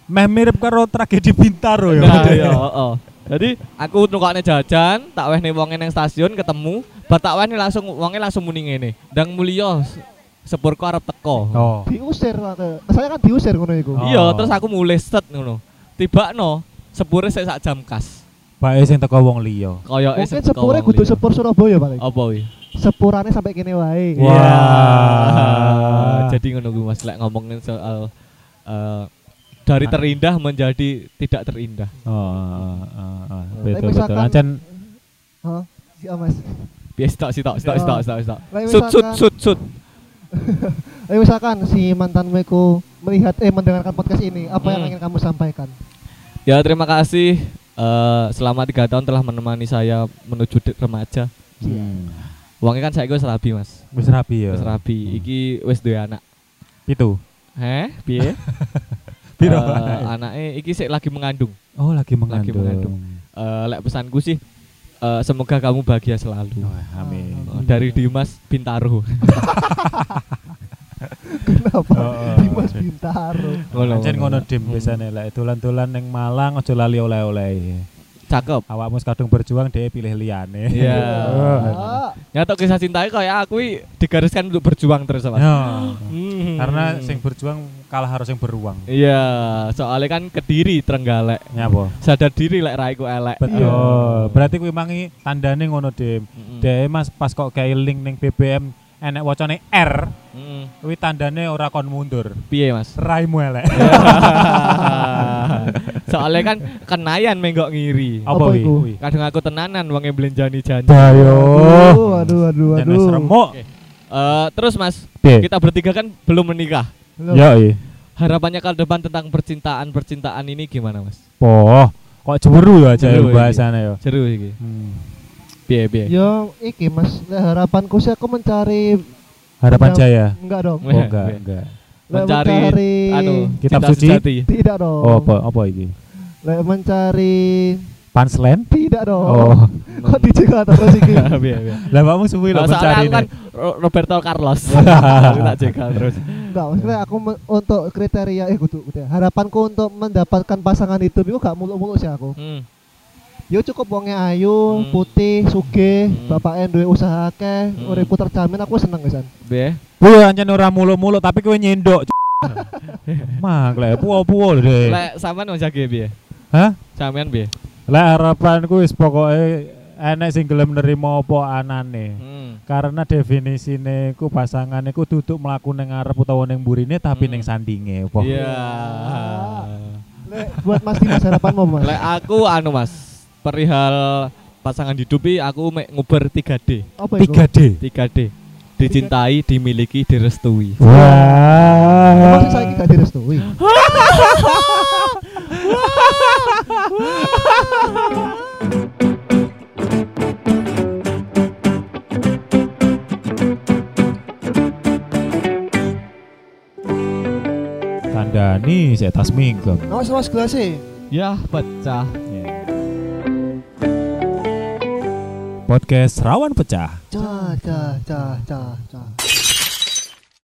Speaker 3: Meh mirip karo tragedi Bintaro ya.
Speaker 1: Nah, iya, heeh. Jadi aku nukokne jajan, tak wehne wonge nang stasiun ketemu, bar tak wehne langsung wonge langsung muni ngene. Ndang mulya s- sepurku arep teko.
Speaker 3: Oh.
Speaker 2: Diusir lah. ke- Saya kan diusir ngono iku.
Speaker 3: Oh.
Speaker 1: Iya, terus aku mulai set ngono. Tibakno sepure sik sak jam kas.
Speaker 3: Bae sing teko wong liya. Oh,
Speaker 1: Koyoke
Speaker 2: Mungkin
Speaker 1: sepur
Speaker 2: sepure
Speaker 1: kawong
Speaker 2: kudu
Speaker 3: iya.
Speaker 1: liya.
Speaker 2: sepur Surabaya paling.
Speaker 1: Apa wi?
Speaker 2: Sepurane sampai kene wae.
Speaker 3: Ah. Wah.
Speaker 1: Iya. Jadi ngono kuwi Mas lek ngomongin soal eh, dari
Speaker 3: Nah.
Speaker 1: terindah menjadi tidak terindah.
Speaker 3: Oh, oh, oh, oh.
Speaker 2: Tapi
Speaker 3: betul betul.
Speaker 2: misalkan-
Speaker 3: Ancen
Speaker 2: Hah? Iya, Mas.
Speaker 1: Biasa tak sih tak
Speaker 2: Iya.
Speaker 1: tak tak tak tak.
Speaker 2: Lah,
Speaker 1: Sut sut
Speaker 2: misalkan-
Speaker 1: sut sut.
Speaker 2: Eh misalkan si mantanmu iku melihat eh mendengarkan podcast ini, apa yang
Speaker 1: Hmm.
Speaker 2: ingin kamu sampaikan?
Speaker 1: Ya terima kasih eh, selama tiga tahun telah menemani saya menuju de- remaja.
Speaker 2: Iya.
Speaker 3: Hmm.
Speaker 1: Uangnya kan saya gue serabi mas,
Speaker 3: wis rapi ya. Gitu.
Speaker 1: wis rabi. Iki wis dua anak.
Speaker 3: Pitu.
Speaker 1: Heh, piye?
Speaker 3: Piro
Speaker 1: Eh,
Speaker 3: anake?
Speaker 1: anaknya iki sik lagi mengandung.
Speaker 3: Oh, lagi
Speaker 1: lagi mengandung.
Speaker 3: mengandung.
Speaker 1: Eh, lek pesanku sih, eh, semoga kamu bahagia selalu.
Speaker 3: Oh, iya. amin.
Speaker 1: Eh, Dari Dimas Bintaro.
Speaker 2: Kenapa?
Speaker 3: Oh, oh.
Speaker 2: Dimas Bintaro.
Speaker 1: Ngono,
Speaker 3: Ancen ngono dim
Speaker 1: Hmm.
Speaker 3: biasane lek dolan-dolan ning Malang aja lali oleh-oleh.
Speaker 1: Cakep.
Speaker 3: Awakmu kadung berjuang dhewe pilih liyane.
Speaker 1: Iya.
Speaker 2: Ah,
Speaker 1: Nyata kisah cintanya kayak aku i digariskan untuk berjuang terus mas.
Speaker 3: Yo.
Speaker 1: Hmm.
Speaker 3: Ya. Karena sing berjuang kalah harus yang beruang.
Speaker 1: Iya, soalnya kan kediri Trenggalek.
Speaker 3: Nyapa?
Speaker 2: Iya.
Speaker 1: Sadar diri lek raiku elek.
Speaker 3: Betul. Berarti kuwi mangi tandane ngono dim.
Speaker 1: Mm-mm.
Speaker 3: Dhewe Mas pas kok kayak link ning BBM enek wacane R,
Speaker 1: Mm.
Speaker 3: kuwi tandane ora kon mundur.
Speaker 1: Piye mas?
Speaker 3: Raimu elek.
Speaker 1: Iya. Soalnya kan kenayan menggok ngiri.
Speaker 2: Apa
Speaker 3: Apa
Speaker 2: iku?
Speaker 3: kuwi?
Speaker 1: Kadang aku tenanan wonge belenjani janji.
Speaker 3: Dayo.
Speaker 2: Aduh, aduh, aduh,
Speaker 3: Dan
Speaker 2: aduh.
Speaker 3: wis remuk.
Speaker 1: Oke. Eh, terus Mas,
Speaker 3: Piye?
Speaker 1: kita bertiga kan belum menikah.
Speaker 2: Loh,
Speaker 3: Yo Ya, iya.
Speaker 1: Harapannya ke depan tentang percintaan-percintaan ini gimana, Mas?
Speaker 3: Poh, kok cemburu ya aja
Speaker 1: Cemburu, iya.
Speaker 3: bahasane ya.
Speaker 1: Seru iki.
Speaker 3: Hmm.
Speaker 1: Piye piye?
Speaker 2: Yo, iki Mas, Lah, harapanku sih aku mencari
Speaker 3: Harapan
Speaker 2: Nah,
Speaker 3: Jaya.
Speaker 2: Enggak dong.
Speaker 1: Weh,
Speaker 3: Oh enggak,
Speaker 1: weh.
Speaker 3: enggak.
Speaker 2: Lah,
Speaker 1: Mencari
Speaker 2: mencari-
Speaker 1: anu,
Speaker 3: Kitab
Speaker 1: cinta
Speaker 3: suci?
Speaker 1: sejati.
Speaker 2: Tidak dong.
Speaker 3: Oh, apa apa iki?
Speaker 2: Lek mencari
Speaker 3: Punchline?
Speaker 2: tidak dong.
Speaker 3: Oh.
Speaker 2: Kok dijegal terus iki?
Speaker 1: Piye piye?
Speaker 3: Lah kamu suwi
Speaker 1: Nah,
Speaker 3: lho
Speaker 1: soalnya
Speaker 3: mencari
Speaker 1: aku kan
Speaker 3: ini.
Speaker 1: Ro- Roberto Carlos. Aku tak jegal terus.
Speaker 2: Enggak, maksudnya aku me- untuk kriteria eh kudu kudu. Harapanku untuk mendapatkan pasangan hidup itu gak muluk-muluk sih aku.
Speaker 1: Hmm.
Speaker 2: Yo cukup wonge ayu,
Speaker 1: Hmm.
Speaker 2: putih, sugih,
Speaker 1: Hmm.
Speaker 2: bapaknya duwe usaha akeh,
Speaker 1: Hmm.
Speaker 2: uripku terjamin aku seneng pisan.
Speaker 1: Piye?
Speaker 3: Kuwi anjen ora mulu-mulu tapi kowe nyendok. Mah, lek puwo-puwo lho deh.
Speaker 1: Lek sampean mau jage piye?
Speaker 3: Hah?
Speaker 1: Sampean piye?
Speaker 3: Lek harapanku wis pokoke enek sing gelem nerima apa anane.
Speaker 1: Hmm.
Speaker 3: Karena definisine ku pasangane ku duduk mlaku ning ngarep utawa ning burine tapi
Speaker 1: Hmm.
Speaker 3: ning sandinge apa.
Speaker 1: Iya.
Speaker 2: Lek buat Mas Dimas harapanmu Mas.
Speaker 1: Lek aku anu Mas, perihal pasangan hidup i, aku mek nguber 3D.
Speaker 2: Apa itu?
Speaker 3: 3D.
Speaker 1: 3D. Dicintai, dimiliki, direstui.
Speaker 3: Wah.
Speaker 2: Masih saya gak direstui.
Speaker 3: Kandani saya tas minggem.
Speaker 2: Awas awas gelas sih.
Speaker 1: Ya, pecah.
Speaker 3: Podcast Rawan Pecah.
Speaker 2: Cah cah cah cah cah.